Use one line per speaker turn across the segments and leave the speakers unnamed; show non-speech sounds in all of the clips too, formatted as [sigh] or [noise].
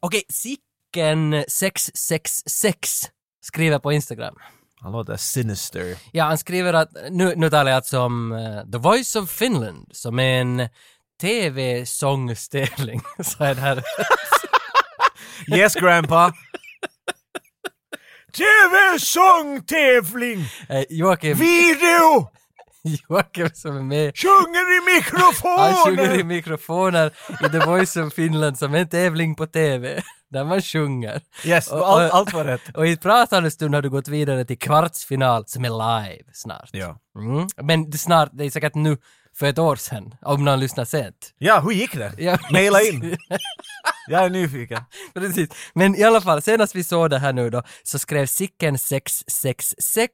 Okej, Sicken666 skriver på Instagram.
Han låter sinister.
Ja, han skriver att, nu, nu talar jag alltså om eh, The Voice of Finland, som är en TV-sångstävling. [laughs] Så är det här.
Yes [laughs] grandpa! TV-sångtävling!
Eh, Joakim,
Video!
Joakim som är med
Sjunger i
Han sjunger i
mikrofonen!
mikrofoner i The Voice of Finland som är en tävling på TV, [laughs] där man sjunger.
Yes,
Och-
allt,
och-
allt var rätt.
Och i ett pratande stund har du gått vidare till kvartsfinal som är live snart.
Ja.
Mm. Men det snart, det är säkert nu för ett år sedan, om någon lyssnar sent. [laughs]
ja, hur gick det?
Ja.
Maila
[laughs]
in! Jag är nyfiken.
Precis. Men i alla fall, senast vi såg det här nu då, så skrev Sicken666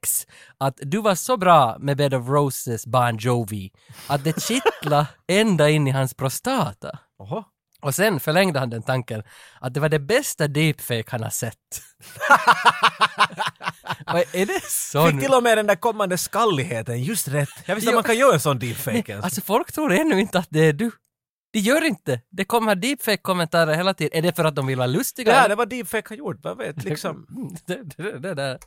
att du var så bra med Bed of Roses Bon Jovi att det
[laughs]
kittlade ända in i hans prostata.
Oho.
Och sen förlängde han den tanken att det var det bästa deepfake han har
[laughs]
sett. Vad är det
Fick
sån?
till och med den där kommande skalligheten just rätt. Jag visste att
Jo.
man kan göra en sån deepfake ens.
Alltså folk tror ännu inte att det är du. Det gör inte. Det kommer deepfake-kommentarer hela tiden. Är det för att de vill vara lustiga?
Det här, det var deepfake han gjort, man vet liksom.
Mm, [laughs] det, det, det, det.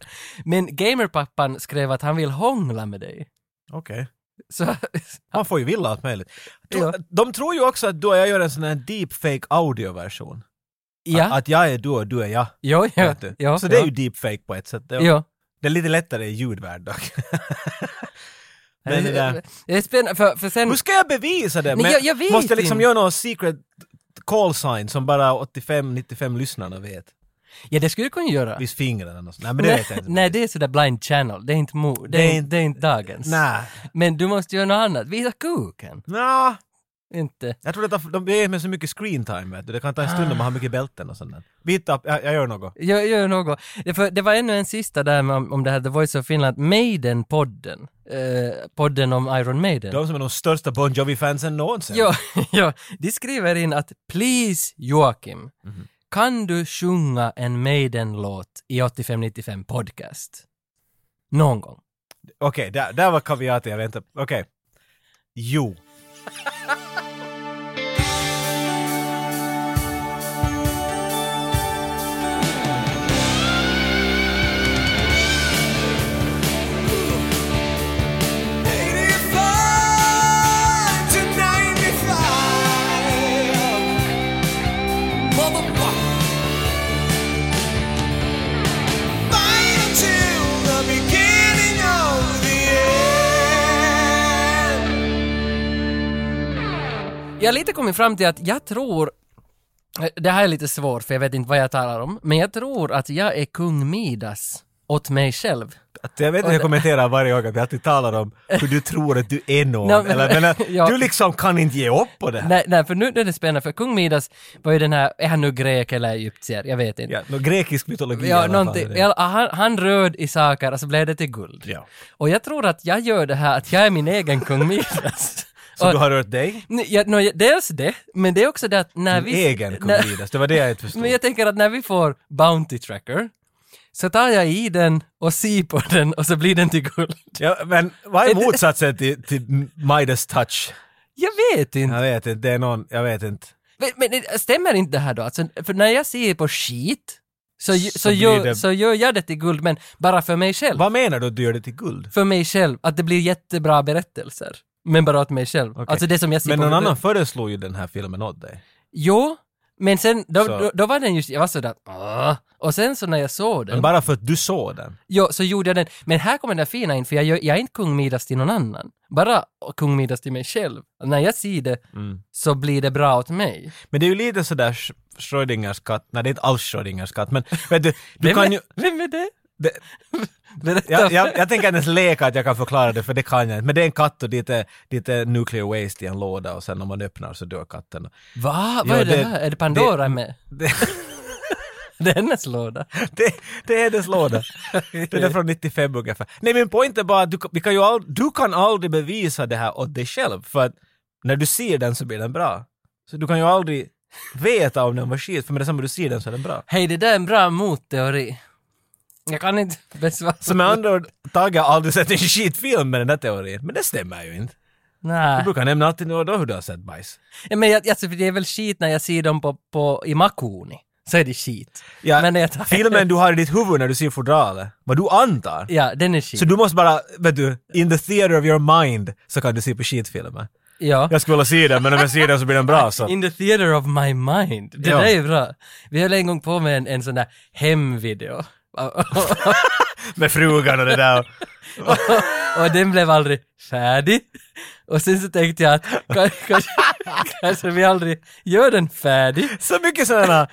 Men gamerpappan skrev att han vill hångla med dig.
Okej.
Så, [laughs]
Man får ju vilja allt möjligt. Tro-
Ja.
De tror ju också att du och jag gör en sån här deepfake audioversion.
ja.
Att jag är du och du är jag.
Jo, ja,
Ah, vet du.
ja.
Så det är
ja.
ju deepfake på ett sätt. Det,
Ja.
det är lite lättare i ljudvärld dock. [laughs] Men eh, det där.
Det är spännande, för, för sen...
Hur ska jag bevisa det?
Nej,
Men
jag- jag vet
måste jag liksom
inte.
göra någon secret call sign som bara 85-95 lyssnarna vet?
Ja, det skulle du kunna göra.
Visst fingrarna och så. Nej men det vet jag inte.
Nej, det är sådär blind channel. Det är inte, mo- det är inte, det är inte dagens.
Nej.
Men du måste göra något annat. Visa kuken.
Nå,
Inte.
jag tror att de- de ger mig så mycket screen time vet du. Det kan ta en stund om man har mycket bälten och sånt där. Bit upp, jag, jag gör något.
Gör, gör något. Det, för, det var ännu en sista där med, om det här The Voice of Finland. Maiden-podden. Eh, podden om Iron Maiden.
De som är de största Bon Jovi-fansen någonsin.
Ja, [laughs] ja, de skriver in att “Please Joakim, kan du sjunga en Maiden-låt i 8595 podcast?” Någon gång.
Okej, där, där var kaviaten jag väntade på. Okej. Jo.
Jag har lite kommit fram till att jag tror eh, det här är lite svårt för jag vet inte vad jag talar om, men jag tror att jag är kung Midas åt mig själv.
Att jag vet inte, jag kommenterar varje gång att vi alltid talar om hur du tror att du är någon.
Nej, men-
eller, men
[laughs]
att
ja.
du liksom kan inte ge upp på det här.
Nej, nej, för nu är det spännande, för kung Midas var ju den här, är han nu grek eller egyptier? Jag vet inte.
Ja, nå, grekisk mytologi
Ja,
i alla
någonting.
fall.
Ja, han, han röd i saker och så blev det till guld.
Ja.
Och jag tror att jag gör det här, att jag är min egen kung Midas.
[laughs] Så
Och-
du har rört dig?
Nej, ja, nå, ja, dels det, men det är också det att när
Din
vi...
egen
när-
Kubidas, det var det jag inte
[laughs]
förstod.
Men jag tänker att när vi får Bounty Tracker så tar jag i den och si på den och så blir den till guld.
ja, men vad är
[laughs] Ett-
motsatsen till, till Midas touch?
Jag vet inte.
Jag vet inte, det är någon, jag vet inte.
Men, men det- stämmer inte det här då? Alltså, för när jag ser på skit så, ju-
Så
så,
blir
gör,
det-
så gör jag det till guld, men bara för mig själv.
Vad menar du att du gör det till guld?
För mig själv, att det blir jättebra berättelser. Men bara åt mig själv.
Okej.
Alltså det som jag ser
Men
på
någon annan föreslog ju den här filmen åt dig.
Jo, men sen, då,
Så.
då, då var den just, jag var sådär, "Åh." och sen så när jag såg den,
Men bara för att du såg den.
Jo, så gjorde jag den. Men här kommer den fina in, för jag, gör, jag är inte kung Midas till någon annan. Bara kung Midas till mig själv. När jag ser det
Mm.
så blir det bra åt mig.
Men det är ju lite sådär Sch- Schrödingers katt, nej det är inte alls Schrödingers
[laughs]
katt men vet du, du
Vem,
kan
är,
ju...
vem är det?
Det,
[laughs] Berätta.
jag, jag, jag tänker inte ens leka att jag kan förklara det för det kan jag inte. Men det är en katt och dit är, dit är nuclear waste i en låda och sen när man öppnar så dör katten.
Va? Vad
Jo,
är det,
det-
här? Är det Pandora med?
Det,
[laughs] Det är hennes låda.
det, det är hennes låda. Den är från 95 ungefär. Nej min point är bara att du, kan- vi kan ju all, du kan aldrig bevisa det här åt dig själv för att när du ser den så blir den bra. Så du kan ju aldrig veta om den var skit för med detsamma du ser den så är den bra.
Hej, det där är en bra motteori. Jag kan inte besvara.
Så med andra ord, Tage har aldrig sett en skitfilm med den där teorin. Men det stämmer ju inte. Du
Nej.
brukar nämna alltid nu och då hur du har sett bajs.
Ja, men jag, alltså, för det är väl skit när jag ser dem på, på, i Makuni. så är det skit.
Ja,
Men jag tar-
Filmen du har i ditt huvud när du ser fodralet, vad du antar.
[laughs] Ja, den är skit.
Så du måste bara, vet du, in the theater of your mind så kan du se på skitfilmer.
ja.
Jag skulle vilja se den, men om jag ser den så blir den bra så.
In the theater of my mind. Det
Ja.
där är bra. Vi höll en gång på med en, en sån där
[laughs]
hemvideo. och,
Med frugan och det där.
[laughs] och den blev aldrig färdig. Och sen så tänkte jag att kanske, [laughs] kanske, kanske vi aldrig gör den färdig.
Så mycket sådana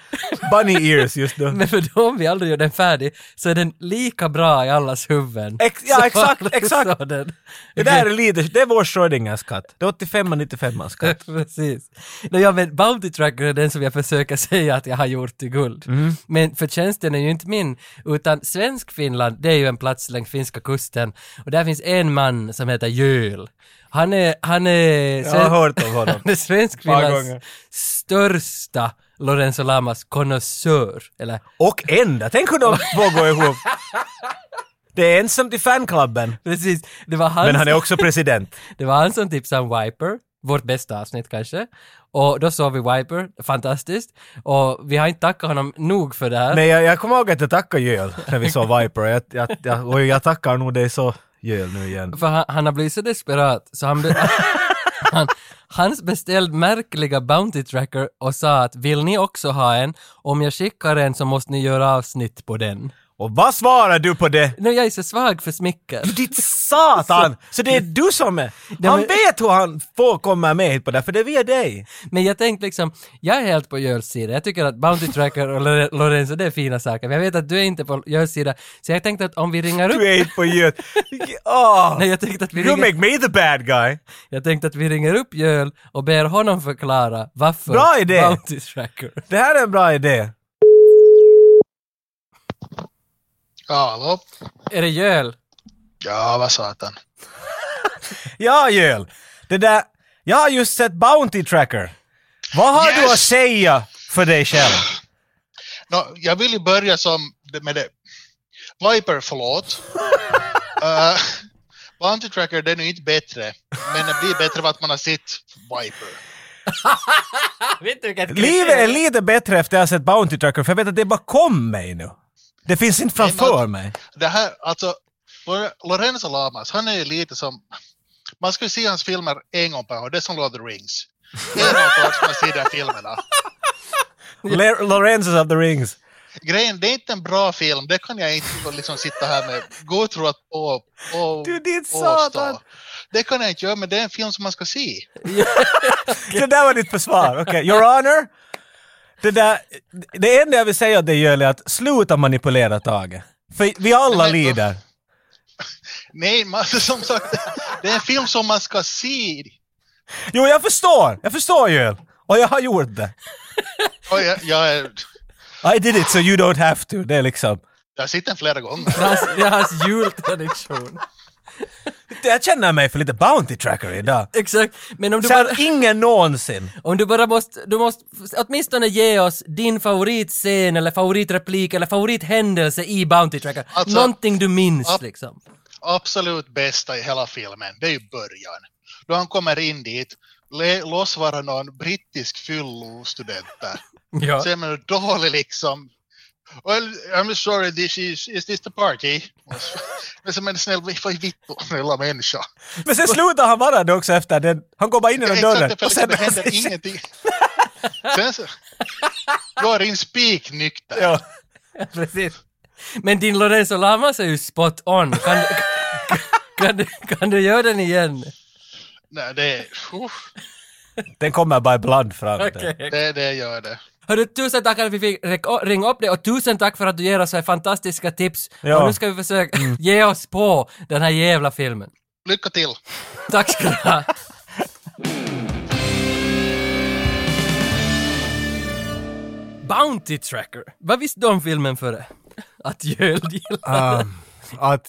bunny ears just nu.
Men för då om vi aldrig gör den färdig så är den lika bra i allas huvuden.
Ex- ja,
Så
exakt,
alla
exakt.
sa den. [laughs]
Det där är lite, det är vår Schrödingers katt. Det är 85 och 95
[laughs]
katt.
Precis. Nej, ja, men Bounty Tracker är den som jag försöker [laughs] säga att jag har gjort till guld.
Mm.
Men förtjänsten är ju inte min, utan svensk Finland, det är ju en plats längs finska kusten. Och där finns en man som heter Jöl. Han är, han är...
Jag har hört om honom.
Han är [laughs] svensk
Par
Finlands
gånger.
största Lorenzo Lamas konnässör, eller
Och ända, tänk hur de två går ihop. Det är ensam till fanklubben.
precis, det var han,
Men han är också president.
det var han som tipsade om Wiper, vårt bästa avsnitt kanske. Och då såg vi Wiper, fantastiskt. Och vi har inte tackat honom nog för det här.
Nej, jag, jag kommer ihåg att jag tackade Jöl när vi såg Viper. Jag, jag, jag, och jag tackar nog dig så Jöl nu igen.
För han, han har blivit så desperat så han, be- [laughs] han Hans beställd märkliga Bounty Tracker och sa att vill ni också ha en? Om jag skickar en så måste ni göra avsnitt på den.
Och vad svarar du på det?
Nu jag är så svag för smicker.
Ditt satan! Så det är du som är... Han
men-
vet hur han får komma med hit på det, här, för det är via dig.
Men jag tänkte liksom, jag är helt på Jöls sida. Jag tycker att Bounty Tracker och Lore- Lorenzo, det är fina saker. Men jag vet att du är inte på Jöls sida. Så jag tänkte att om vi ringar upp...
Du är inte på Jöl. Åh!
Nej, jag tänkte att vi
You
ringer,
make me the bad guy!
jag tänkte att vi ringer upp Jöl och ber honom förklara varför
Bra idé!
Bounty Tracker.
Det här är en bra idé.
Ja, hallå?
Är det Jöl?
Ja, vad satan.
Ja, Jöl. Det där... Jag har just sett Bounty Tracker. Vad har du
Yes!
att säga för dig själv?
Nå, jag vill ju börja som med det.
[laughs]
Viper, förlåt. uh, Bounty Tracker, den är ju inte bättre. Men det blir bättre för att man har sett Viper.
Vet du vilket
Livet är lite bättre efter jag har sett Bounty Tracker, för jag vet att det bara kom mig nu. Det finns inte framför mig.
Det här, alltså, Lore- Lorenzo Lamas, han är ju lite som... Man ska ju se hans filmer en gång per år, det är som Lord of the Rings. En gång per år ska man se de här filmerna.
Le- Lorenzos of the Rings.
Grejen, det är inte en bra film, det kan jag inte liksom sitta här med god tro att på, på,
Du, ditt satan.
påstå. Det kan jag inte göra, men det är en film som man ska se.
Det där var ditt försvar. Okej, Your Honor. Det, där, det enda jag vill säga åt dig Jöl är att sluta manipulera Tage. För vi alla
Men-
lider.
Nej, man, [laughs] som sagt, det är en film som man ska se.
Jo, jag förstår. Jag förstår Jöl. Och jag har gjort det.
Och jag, jag, är-
I did it so you don't have to. Det är liksom...
jag har sett den flera gånger.
Det är hans, det är hans jultradition.
Jag känner mig för lite Bounty Tracker idag.
Exakt. Men om du,
Så
bara,
här, ingen någonsin.
om du bara måste, du måste åtminstone ge oss din favoritscen eller favoritreplik eller favorithändelse i Bounty Tracker.
Alltså-
Någonting du minns
Ja.
liksom.
Absolut bästa i hela filmen, det är ju början. Då han kommer in dit, le- låtsas vara någon brittisk fyllostudent där.
Ja.
Så jag menar, dålig liksom. Well, I'm sorry, this is, is this the party? [laughs] Men så men snälla, vad är vittu om hela människa?
Men sen slutar han bara det också efter den. Han går bara in genom dörren.
Exakt, för liksom,
[laughs]
det händer ingenting. Sen så, jag är in spiknykter.
Ja.
[laughs] Precis. Men din Lorenzo Lamas är ju spot on. Kan, du- [laughs] kan, du, kan du göra den igen?
Nej, det, är- uff.
Den kommer bara ibland fram. typ. där.
Det, det gör det.
Hörru, tusen tack att vi fick rek- ringa upp dig och tusen tack för att du ger oss så här fantastiska tips.
Ja. Mm.
Och nu ska vi försöka ge oss på den här jävla filmen.
Lycka till!
Tack ska du ha. Bounty Tracker. Vad visste du om filmen före? Att Jöld gillar
Um, att,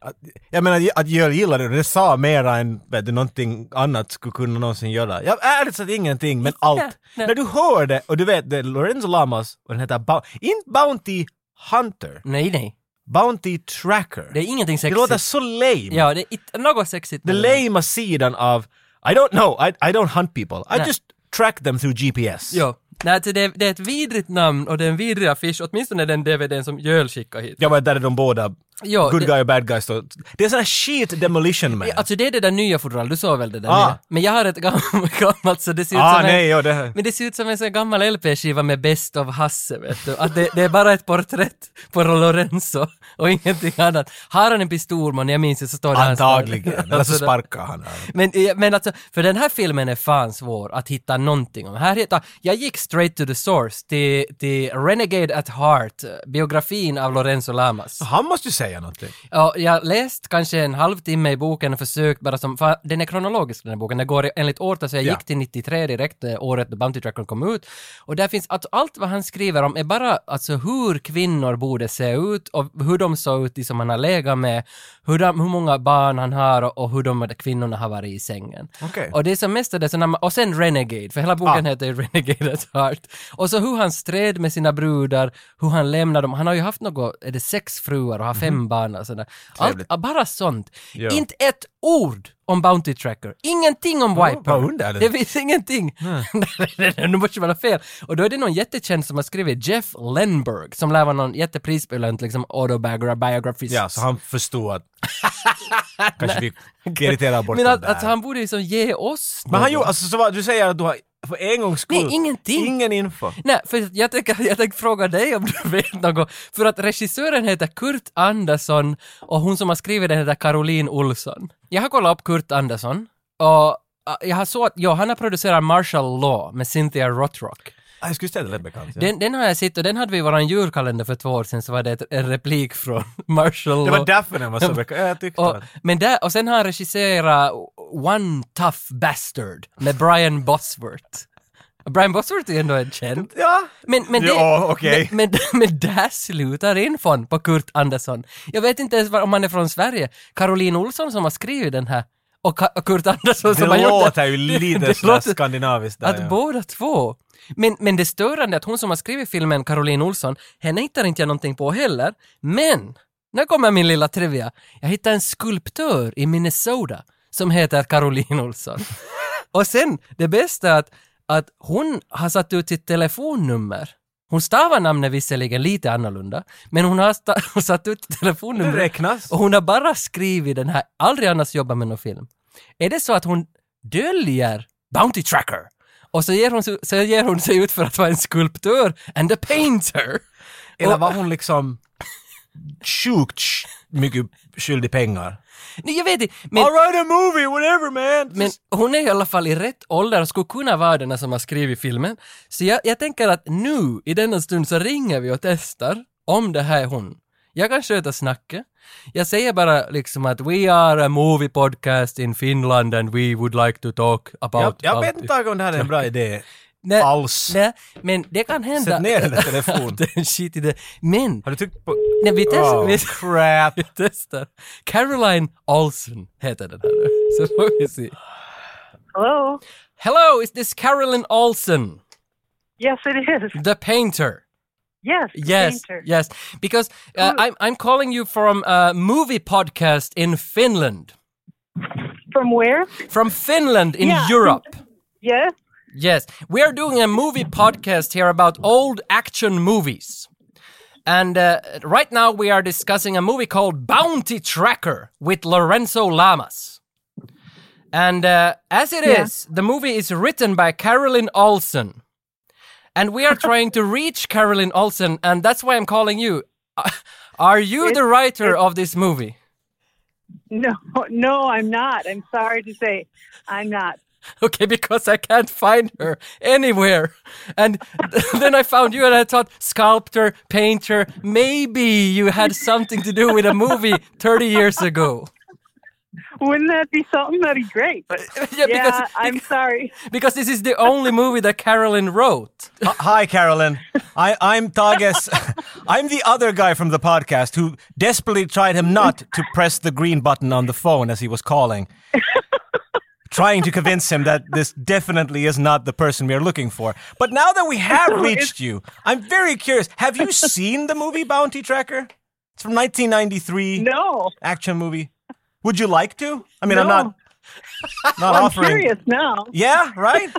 att, jag menar att Jöl gillade det, det sa mera än vet du, någonting annat skulle kunna någonsin göra. Jag ärligt sagt ingenting, men allt.
nej.
När du hör det, och du vet det är Lorenzo Lamas, och den heter Bou- inte Bounty Hunter,
Nej, nej.
Bounty Tracker.
Det är ingenting
Det
sexigt.
låter så lame.
Ja, det är inte något sexigt.
The
med det.
lame sidan av I don't know, I, I don't hunt people, I
Nej.
just track them through GPS.
Ja, Nej, alltså, det är, det är ett vidrigt namn och det är en vidrig affisch, åtminstone den DVDn som Jöl skickade hit.
Ja men där är de båda,
Ja,
good
det-
guy och bad guy står... Det är sån här shit demolition man.
Ja, Alltså det är det där nya fodralet, du såg väl det där
Ah.
nya? Men jag har ett gammalt, [laughs] gammalt så det ser ut
ah
som en...
nej, ja det...
Men det ser ut som en sån här gammal LP-skiva med Best of Hasse, vet du. Att det, det är bara ett porträtt på Lorenzo och ingenting annat. Har han en pistolman, jag minns det, så står det hans-
Antagligen. Eller så
[laughs] Alltså, det-
sparkar han. honom.
men, eh, men alltså, för den här filmen är fan svår att hitta någonting om. Här hittar, jag gick straight to the source, till, till Renegade at Heart, eh, biografin av Lorenzo Lamas.
Han måste ju säga någonting.
Ja, jag läst kanske en halvtimme i boken och försökt bara som, för den är kronologisk den här boken, den går enligt årtal så jag
Ja.
gick till 93 direkt, eh, året då Bounty Tracker kom ut. Och där finns, att allt vad han skriver om är bara alltså hur kvinnor borde se ut och hur de såg ut, de som han har legat med, hur, de, hur många barn han har och, och hur de kvinnorna har varit i sängen.
Okej.
Och det är som mest är det så när man, och sen Renegade, för hela boken
Ah.
heter ju Renegade at Heart. Och så hur han stred med sina brudar, hur han lämnar dem. Han har ju haft något, är det sex fruar och har fem barn och sådär. Allt,
Mhm. Trevligt.
ah, bara sånt.
Ja.
Inte ett ord om Bounty Tracker. Ingenting om Wiper.
vad underligt.
Det finns ingenting. [laughs] nu måste det vara fel. Och då är det någon jättekänd som har skrivit, Jeff Lenberg, som lär vara någon jätteprisbelönt liksom autobiografist.
Ja, så han förstod
[laughs]
att... Kanske vi irriterar bort
Men
den
att,
där.
att han borde ju liksom ge oss
Men han
något.
gjorde, alltså så vad, du säger att du har, för en gångs skull,
Nej, ingenting.
ingen info.
Nej, för jag tänkte jag tänker fråga dig om du vet något. För att regissören heter Kurt Andersson och hon som har skrivit den heter Caroline Olsson. Jag har kollat upp Kurt Andersson och äh, jag har såg att, ja, han har producerat Marshall Law med Cynthia Rothrock.
Ah, jag skulle säga det lät bekant. Ja.
Den, den har jag sett och den hade vi i våran julkalender för två år sedan så var det ett, en replik från [laughs] Marshall
det
Law.
var därför den var så bekant. Ja, Jag tyckte
Och,
att...
men där, och sen har han regisserat One Tough Bastard med Brian Bosworth. Brian Bosworth är ju ändå en känd.
Ja,
Men, men, det,
Ja, okej.
men, men, [laughs] men där slutar infon på Kurt Andersson. Jag vet inte ens var, om han är från Sverige. Caroline Olsson som har skrivit den här och, Ka- och Kurt Andersson
det
som har gjort
låter
den.
ju lite
[laughs] det
sådär
låter-
skandinaviskt där.
Att
ja.
båda två. Men, men det störande är att hon som har skrivit filmen, Caroline Olsson, henne hittar inte jag någonting på heller. Men, nu kommer min lilla trivia. Jag hittade en skulptör i Minnesota som heter Caroline
[laughs]
Olsson. Och sen, det bästa är att, att hon har satt ut sitt telefonnummer. Hon stavar namnet visserligen lite annorlunda, men hon har sta- [laughs] satt ut
Det
telefonnumret.
räknas.
Och hon har bara skrivit den här, aldrig annars jobbat med någon film. Är det så att hon döljer Bounty Tracker? Och så ger hon, så, så ger hon sig ut för att vara en skulptör and a painter.
Eller
och-
var hon liksom sjukt sh- mycket skyldig pengar?
Nej, jag vet inte, men,
All right, a movie, whatever man!
men hon är i alla fall i rätt ålder och skulle kunna vara den som har skrivit filmen. Så jag, jag tänker att nu, i denna stund, så ringer vi och testar om det här är hon. Jag kan sköta snacket. Jag säger bara liksom att we are a movie podcast in Finland and we would like to talk
jag
about...
jag vet
Bounty.
inte tag om det här är en bra idé
Nej,
alls.
Nej, men det kan hända.
Sätt ner
[laughs]
den där telefonen.
Det är Shit i det. Men,
Har du tryckt på...
när vi testar,
Oh,
vi,
crap!
[laughs] vi testar. Caroline Olsen heter den här nu. [laughs] Så får vi se.
Hello.
Hello, is this Caroline Olsen,
Yes, it is.
the painter?
Yes.
Yes,
painter. Oh.
yes. Because uh, I'm, I'm calling you from a movie podcast in Finland.
From where?
From Finland in
Yeah.
Europe.
[laughs] Yes.
Yes, we are doing a movie podcast here about old action movies. And uh, right now we are discussing a movie called Bounty Tracker with Lorenzo Lamas. And uh, as it is,
Yeah.
the movie is written by Carolyn Olsen. And we are trying to reach Carolyn Olsen, and that's why I'm calling you. Uh, Are you the writer of this movie?
No, no, I'm not. I'm sorry to say, I'm not.
[laughs] okay, because I can't find her anywhere. And [laughs] then I found you and I thought, sculptor, painter, maybe you had something to do with a movie 30 years ago.
Wouldn't that be something? That'd be great. But
[laughs] Yeah, because-
I'm sorry.
Because this is the only movie that Carolyn wrote. [laughs]
Hi, Carolyn. I, I'm Tages. [laughs] I'm the other guy from the podcast who desperately tried him not to press the green button on the phone as he was
[laughs]
calling, trying to convince him that this definitely is not the person we are looking for. But now that we
[laughs]
have reached you, I'm very curious. Have you seen the movie Bounty Tracker? It's from 1993,
No,
action movie. Would you like to? I mean, I'm
No.
not not
I'm
offering.
serious now.
Yeah, right?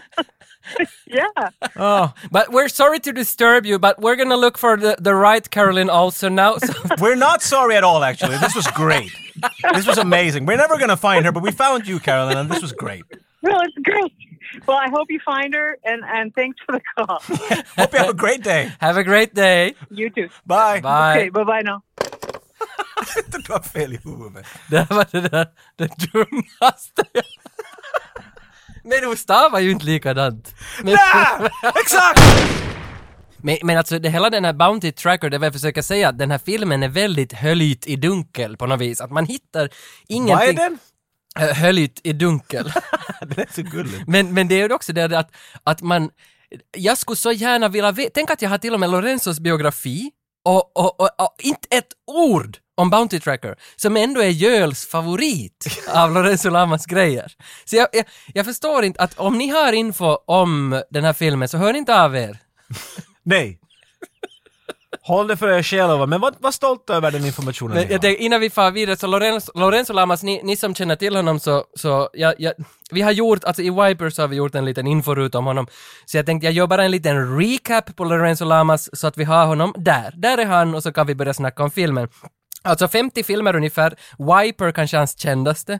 yeah.
Oh,
But we're sorry to disturb you, but we're gonna look for the, the right Caroline also now. So, [laughs]
we're not sorry at all, actually. This was great. this was amazing. We're never going to find her, but we found you, Carolyn, and this was great.
Well, it's great. Well, I hope you find her, and, and thanks for the
[laughs]
call.
Hope you have a great day.
have a great day.
You too.
Bye. [laughs]
Bye. [laughs]
Okay, bye bye now.
Det var fel i huvudet.
Det var det där, det [laughs] dummaste jag... Men hon stavar ju inte likadant. Men,
[laughs] Ah, exakt!
men, men alltså det, hela den här Bounty Tracker, det var jag försöker säga, att den här filmen är väldigt höljt i dunkel på något vis. Att man hittar
Vad
ingenting...
är den?
Eh, Höljt i dunkel. [laughs]
Det är så gulligt.
Men, men det är ju också det att, att man... Jag skulle så gärna vilja veta... Tänk att jag har till och med Lorenzos biografi och, och, och, och inte ett ord om Bounty Tracker, som ändå är Jöls
[laughs]
favorit av Lorenzo Lamas grejer. Så jag, jag, jag förstår inte att om ni har info om den här filmen så hör inte av er.
Nej. Håll det för er själva, men var, var stolt över den informationen.
Men
ni har.
jag tänkte, innan vi far vidare, så Lorenzo, Lorenzo Lamas, ni, ni som känner till honom så, så jag, jag, vi har gjort, alltså i Wipers har vi gjort en liten inforuta om honom. Så jag tänkte, jag gör bara en liten recap på Lorenzo Lamas så att vi har honom där. Där är han och så kan vi börja snacka om filmen. Alltså 50 filmer ungefär, Wiper kanske hans kändaste.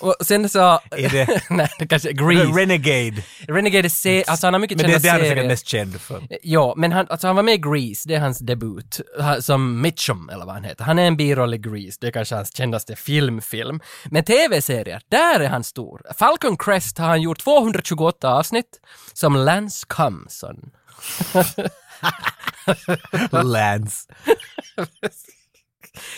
Och sen så...
Är det-
[laughs] nej, det kanske är
The
Grease.
Renegade.
Renegade C, alltså han har mycket
Men det
kända
är det han är
serier.
säkert mest känd för.
Ja, men han, alltså han var med i Grease, det är hans debut, ha- som Mitchum eller vad han heter. Han är en biroll i Grease, det är kanske hans kändaste filmfilm. Men tv-serier, där är han stor. Falcon Crest har han gjort 228 avsnitt, som Lance Cumson.
Lance.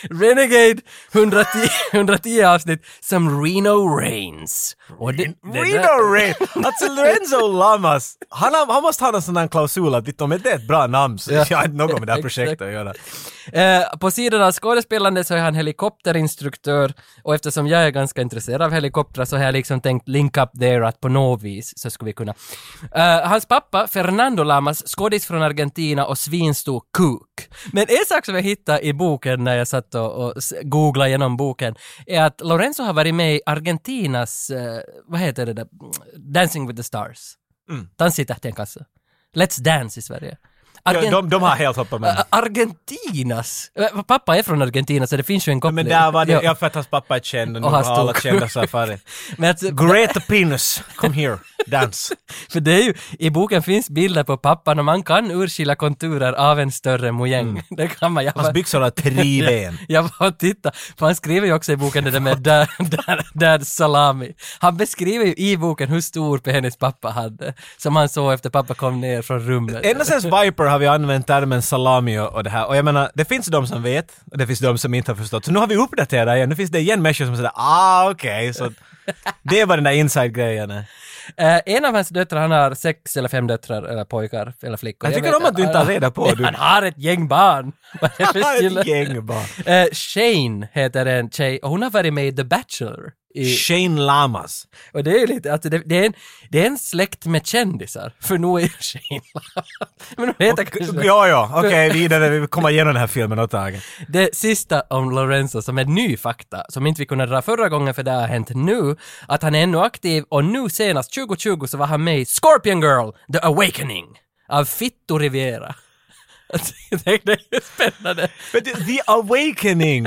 Renegade 110, [laughs] 110 avsnitt, som Reno Reigns. Och det- det där-
Reno Ray. Alltså Lorenzo Lamas. Han, har, han måste ha någon sån där klausul att om inte det är ett bra namn så jag har inte något med det här projektet att göra.
Eh, på sidan av skådespelande så är han helikopterinstruktör och eftersom jag är ganska intresserad av helikoptrar så har jag liksom tänkt link up there att på något vis så skulle vi kunna. Eh, hans pappa, Fernando Lamas, skådis från Argentina och svinstor kuk. Men en sak som jag hittade i boken när jag satt och, och s- googlade igenom boken är att Lorenzo har varit med i Argentinas, eh, vad heter det där, Dancing with the Stars. Mm. Dansa i tähten kanske. Let's Dance i Sverige.
Ja,
Argen-
de, de har helt hoppat med.
Ä- Argentinas? Ä, Pappa är från Argentina så det finns ju en koppling.
Men där var det,
Ja.
jag för att hans pappa är känd och nu
Och hans
har alla
stor-
kända safari.
Men alltså,
Greta Pinus, come here, dance.
för det är ju, i boken finns bilder på pappan och man kan urskilja konturer av en större mojäng.
Mm.
[laughs] Det kan man. Jag
Hans
var,
byxor
[laughs]
har tre ben.
jag var och tittade, för han skriver ju också i boken det där med [laughs] dad, dad, dad salami. Han beskriver ju i boken hur stor penis pappa hade, som han såg efter pappa kom ner från rummet.
Ända sedan Viper har vi använt termen salami och, och det här. Och jag menar, det finns de som vet och det finns de som inte har förstått. Så nu har vi uppdaterat igen. Nu finns det igen människor som säger ah
[laughs]
okej. Så det var den där inside-grejen.
Eh, en av hans döttrar, han har sex eller fem döttrar, eller pojkar, eller flickor.
Jag tycker
vet
om att du inte har
[laughs]
reda på,
Men
du.
Han har ett gäng barn! [laughs] Vad är det för kille?
Ett gäng bara.
Eh, Shane heter en tjej och hon har varit med i The Bachelor. I,
Shane Lamas.
och det är ju lite, alltså det, det, är en, det är en släkt med kändisar, för nu är Shane [laughs] Men hon heter kanske
Ja, ja, okej, vidare. Vi kommer igenom den här filmen åt taget.
Det sista om Lorenzo som är ny fakta, som inte vi kunde dra förra gången för det har hänt nu, att han är ännu aktiv och nu senast 2020 så var han med i Scorpion Girl, The Awakening, av Fitto Rivera. Jag tänkte, [laughs] det är ju spännande.
Men det- The Awakening,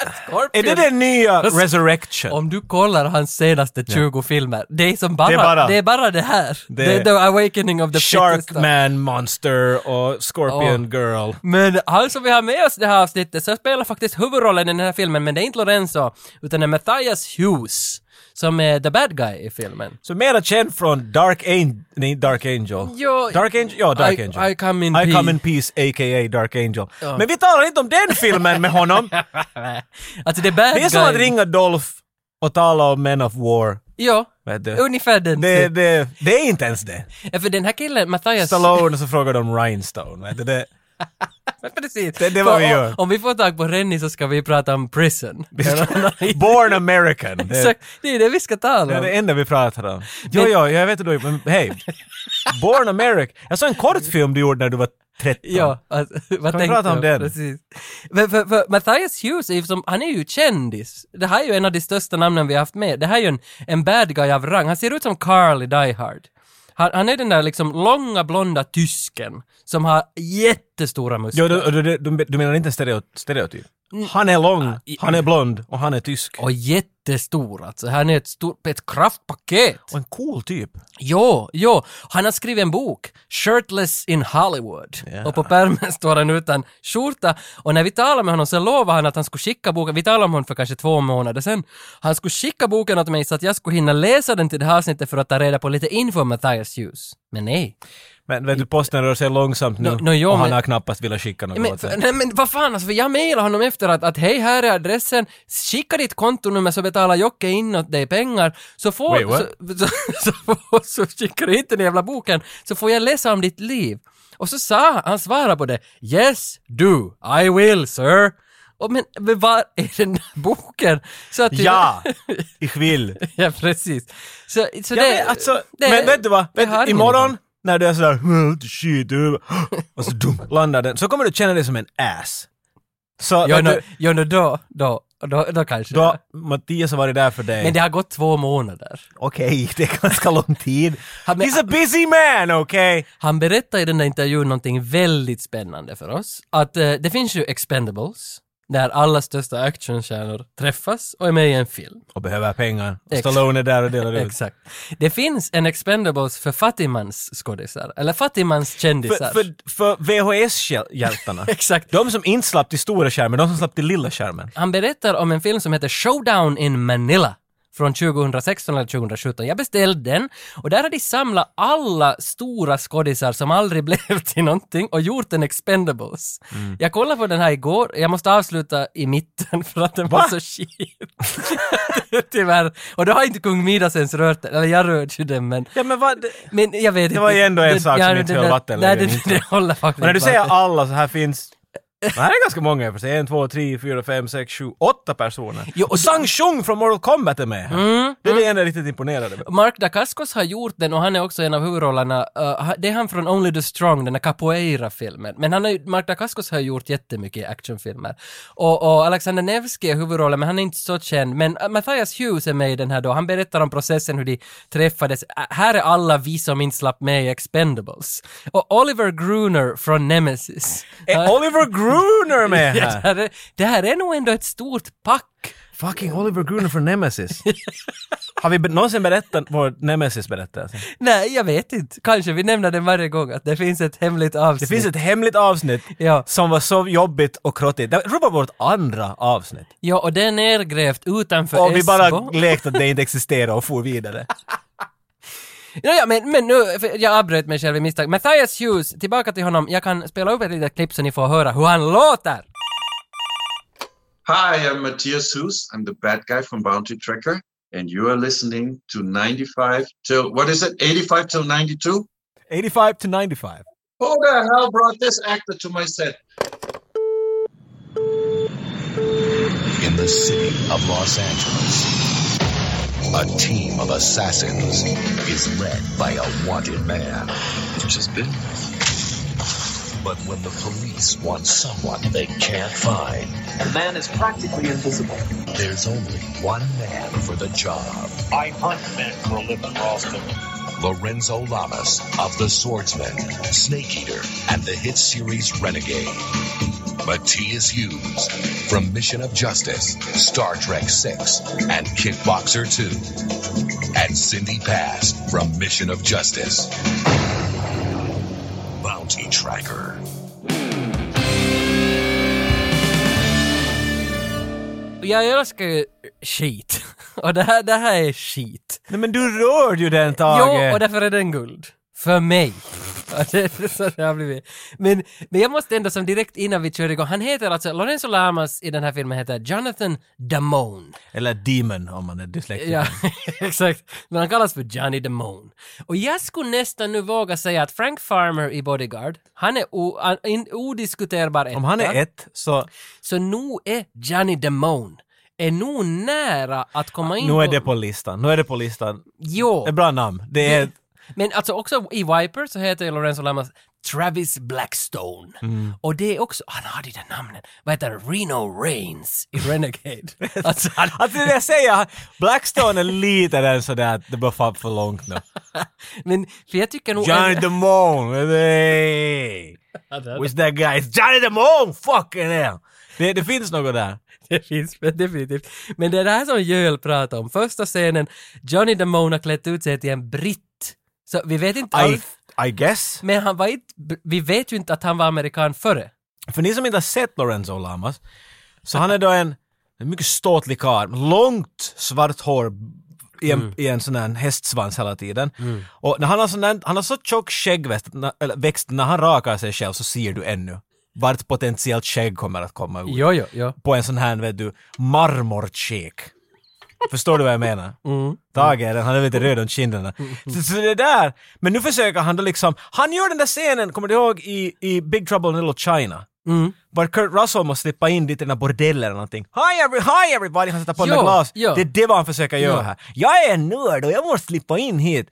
är
Scorpion.
det den nya Resurrection?
Om du kollar hans senaste 20 filmer, det är som bara det,
Det är
är
bara-
bara det här. Det,
Det-
är The Awakening of the Fittest.
Sharkman Monster och Scorpion Girl.
Men han som vi har med oss i det här avsnittet, så spelar faktiskt huvudrollen i den här filmen, men det är inte Lorenzo, utan det är Matthias Hughes, som är the bad guy i filmen.
Så mera känd från Dark Angel, nej Dark Angel.
Jo,
Dark Angel, ja Dark
I-
Angel.
I come in
I
peace.
come in peace aka Dark Angel. Men vi talar inte om den filmen med [laughs] honom.
Alltså det är bad
Det är
guy.
som att ringa Dolph och tala om Men of War.
Ja,
Vet du?
ungefär den. typ.
Det, det, det är inte ens det.
Ja, För den här killen, Matthias...
Stallone så frågar de Rhinestone. Vet
[laughs]
du? Det,
Precis.
Det- det är vad vi
Om-
gör.
Om vi får tag på Rennie så ska vi prata om prison. [laughs]
Born American. Det,
Exakt, det är det vi ska
det
tala
är
om.
det enda vi pratar om. Jo, jo, jag vet att du men hej. Born American. Jag såg en kortfilm du gjorde när du var 13.
Ja, alltså, [laughs] vad
vi
tänkte
prata om
jag?
den?
Precis. Men för, för Matthias Hughes, är ju som, han är ju kändis. Det här är ju en av de största namnen vi har haft med. Det här är ju en, en bad guy av rang. Han ser ut som Carl i Die Hard. Han, han är den där liksom långa blonda tysken som har jättestora muskler.
Jo, du, du, du, du- du menar inte en stereo, stereotyp?
Mm.
Han är
Ah,
lång, han är blond och han är tysk.
Och jättestor alltså. Han är ett, stort, ett kraftpaket.
Och en cool typ.
Jo, jo. Han har skrivit en bok, Shirtless in Hollywood. Och på pärmen står han utan skjorta. Och när vi talade med honom så lovade han att han skulle skicka boken, vi talade om honom för kanske två månader sedan. Han skulle skicka boken åt mig så att jag skulle hinna läsa den till det här avsnittet för att ta reda på lite info om Matthias Hughes. Men nej.
Men vet du, posten rör sig långsamt nu
Nå- nå, jo,
och han
men-
har knappast velat skicka något
Men,
åt
för,
dig.
nej, men vad fan alltså, för jag mejlade honom efter att, att hej här är adressen, skicka ditt kontonummer så betalar Jocke in åt dig pengar, så får,
Wait, what?
så, så, så, får- så skickar du inte den jävla boken, så får jag läsa om ditt liv. Och så sa han, han svarade på det, yes do, I will sir. Och men, men var är den där boken? Så att [laughs]
Ja! Ich will!
ja, precis. Så, så
Ja,
det,
men, alltså,
det-
men vet du vad?
det
Vet,
har
du,
ingen
imorgon
idé.
när du är sådär "Well, shit, du", och så dunk, landar den, så kommer du känna dig som en ass. Så
Ja,
vet
nå-
du,
ja, nå, då, då, då, då kanske.
då, Mattias har varit där för dig.
Men det har gått två månader.
Okej, [laughs] det är ganska lång tid.
Han- men-
He's a busy man, okej?
Han berättar i den där intervjun någonting väldigt spännande för oss. Att eh, det finns ju Expendables, där alla största actionstjärnor träffas och är med i en film.
Och behöver pengar. Och
Ex-
Stallone är där och delar ut.
Exakt. Det finns en Expendables för fattigmans skådisar, eller fattigmans kändisar.
För, för, för
[laughs]
VHS-hjältarna.
Exakt.
De som inte slapp till stora skärmen, de som slapp till lilla skärmen.
Han berättar om en film som heter Showdown in Manila från 2016 eller 2017. Jag beställde den och där har de samlat alla stora skådisar som aldrig [laughs] blev till någonting och gjort en Expendables.
Mm.
Jag kollade på den här igår, jag måste avsluta i mitten [laughs] för att den var
Va?
så shit. [laughs] Tyvärr. Och då har inte kung Midas ens rört den, eller jag rörde ju den men
Ja, men vad...
men jag vet inte.
var ju ändå en sak som
det-
inte
det-
höll vatten
Nej,
längre
det,
än
det, håller faktiskt
Men när du
inte
säger
vatten.
alla så här finns... Det här är ganska många i och för sig. En, två, tre, fyra, fem, sex, sju, åtta personer.
Jo, och Mm.
och Sang Chung från Mortal Kombat är med här. Det är det enda jag riktigt imponerade med.
Mark Dacascos har gjort den och han är också en av huvudrollerna. Uh, det är han från Only the Strong, den där capoeira-filmen. Men han har, ju- Mark Dacascos har gjort jättemycket actionfilmer. Och, och Alexander Nevsky är huvudrollen, men han är inte så känd. Men uh, Matthias Hughes är med i den här då. Han berättar om processen, hur de träffades. Ä- här är alla vi som inte slapp med i Expendables. Och Oliver Gruner från Nemesis.
Är
Ja,
Oliver Gruner
[laughs]
med
det,
här?
här är, det här är nog ändå ett stort pack.
Fucking Oliver Gruner
[laughs]
från Nemesis. Har vi be- någonsin berättat vår Alltså, Nemesis-berättelse?
Nej, jag vet inte. Kanske vi nämner den varje gång, att det finns ett hemligt
Det
avsnitt.
finns ett hemligt avsnitt
Ja.
som var så jobbigt och krottigt. Det var vårt andra avsnitt.
Ja, och det är nergrävt utanför
Och vi bara
Esbo.
lekte att det inte existerade och
[laughs]
for vidare.
Ja, ja, men, men nu, för jag avbröt mig själv i misstag. Matthias Hughes, tillbaka till honom. Jag kan spela upp ett litet klipp så ni får höra hur han låter.
Hi, I'm Matthias Hus. I'm the bad guy from Bounty Tracker, and you are listening to 95 till what is it? 85 till 92.
85 to 95.
Who the hell brought this actor to my set?
in the city of Los Angeles. A team of assassins is led by a wanted man. It's just business. But when the police want someone they can't find,
The man is practically invisible.
there's only one man for the job.
I hunt men for a living, Ralston.
Lorenzo Lamas of The Swordsman, Snake Eater, and the hit series Renegade. Matthias Hughes from Mission of Justice, Star Trek 6, and Kickboxer 2. And Cindy Pass from Mission of Justice. Bounty Tracker.
Jag älskar ju skit. [laughs] Och det här, det här är skit.
Nej men du rör ju den Tage!
Jo, och därför är den guld. För mig. [laughs] Ja, det är så det har blivit. Men, men jag måste ändå som direkt innan vi kör igång, han heter alltså, Lorenzo Lamas i den här filmen heter Jonathan Damone.
Eller Demon om man är dyslektiker.
Ja, [laughs] exakt. Men han kallas för Johnny Damone. Och jag skulle nästan nu våga säga att Frank Farmer i Bodyguard, han är o, an, in, odiskuterbar etta.
Om han är ett så
Så nu är Johnny Damone är nog nära att komma in
Ah, nu är det på listan. Nu är det på listan.
Jo,
Ett bra namn. Det är
Men alltså också i Viper så heter ju Lorenzo Lamas Travis Blackstone.
Mm.
Och det är också, han hade ju det namnet. Vad heter han? Reno Reigns i
[laughs]
Renegade. alltså, han,
Alltså det jag säger, Blackstone är lite den sådär att det bör fan för långt nu.
men för jag tycker nog... [laughs]
Johnny Damone! Hey. Which that guy? It's Johnny Damone! Fucking hell! Det, det finns något där.
[laughs] Det finns definitivt. Men det är det här som Jöl pratar om. Första scenen, Johnny Damone har klätt ut sig till en britt. Så vi vet inte
I,
alls.
I guess.
Men han var inte, vi vet ju inte att han var amerikan före.
För ni som inte har sett Lorenzo Lamas, så han är då en, en mycket ståtlig karl. Långt svart hår i en, i en sån här hästsvans hela tiden. Och när han har, sån där, han har så tjock skäggväxt, att när- eller växt, när han rakar sig själv så ser du ännu vart potentiellt skägg kommer att komma ut.
Jo, jo, jo.
på en sån här, vet du, marmorkik. Förstår du vad jag menar?
Mm,
Tage, den, han är lite röd om kinderna. Så, så det där, men nu försöker han då liksom, han gör den där scenen, kommer du ihåg, i, i Big Trouble in Little China?
Mm.
Var Kurt Russell måste slippa in dit i den här bordellen eller någonting. Hi, every, hi everybody! Han sätter på den där
Ja,
glas.
ja.
Det är det vad han försöker göra
Ja.
här. Jag är en nörd och jag måste slippa in hit.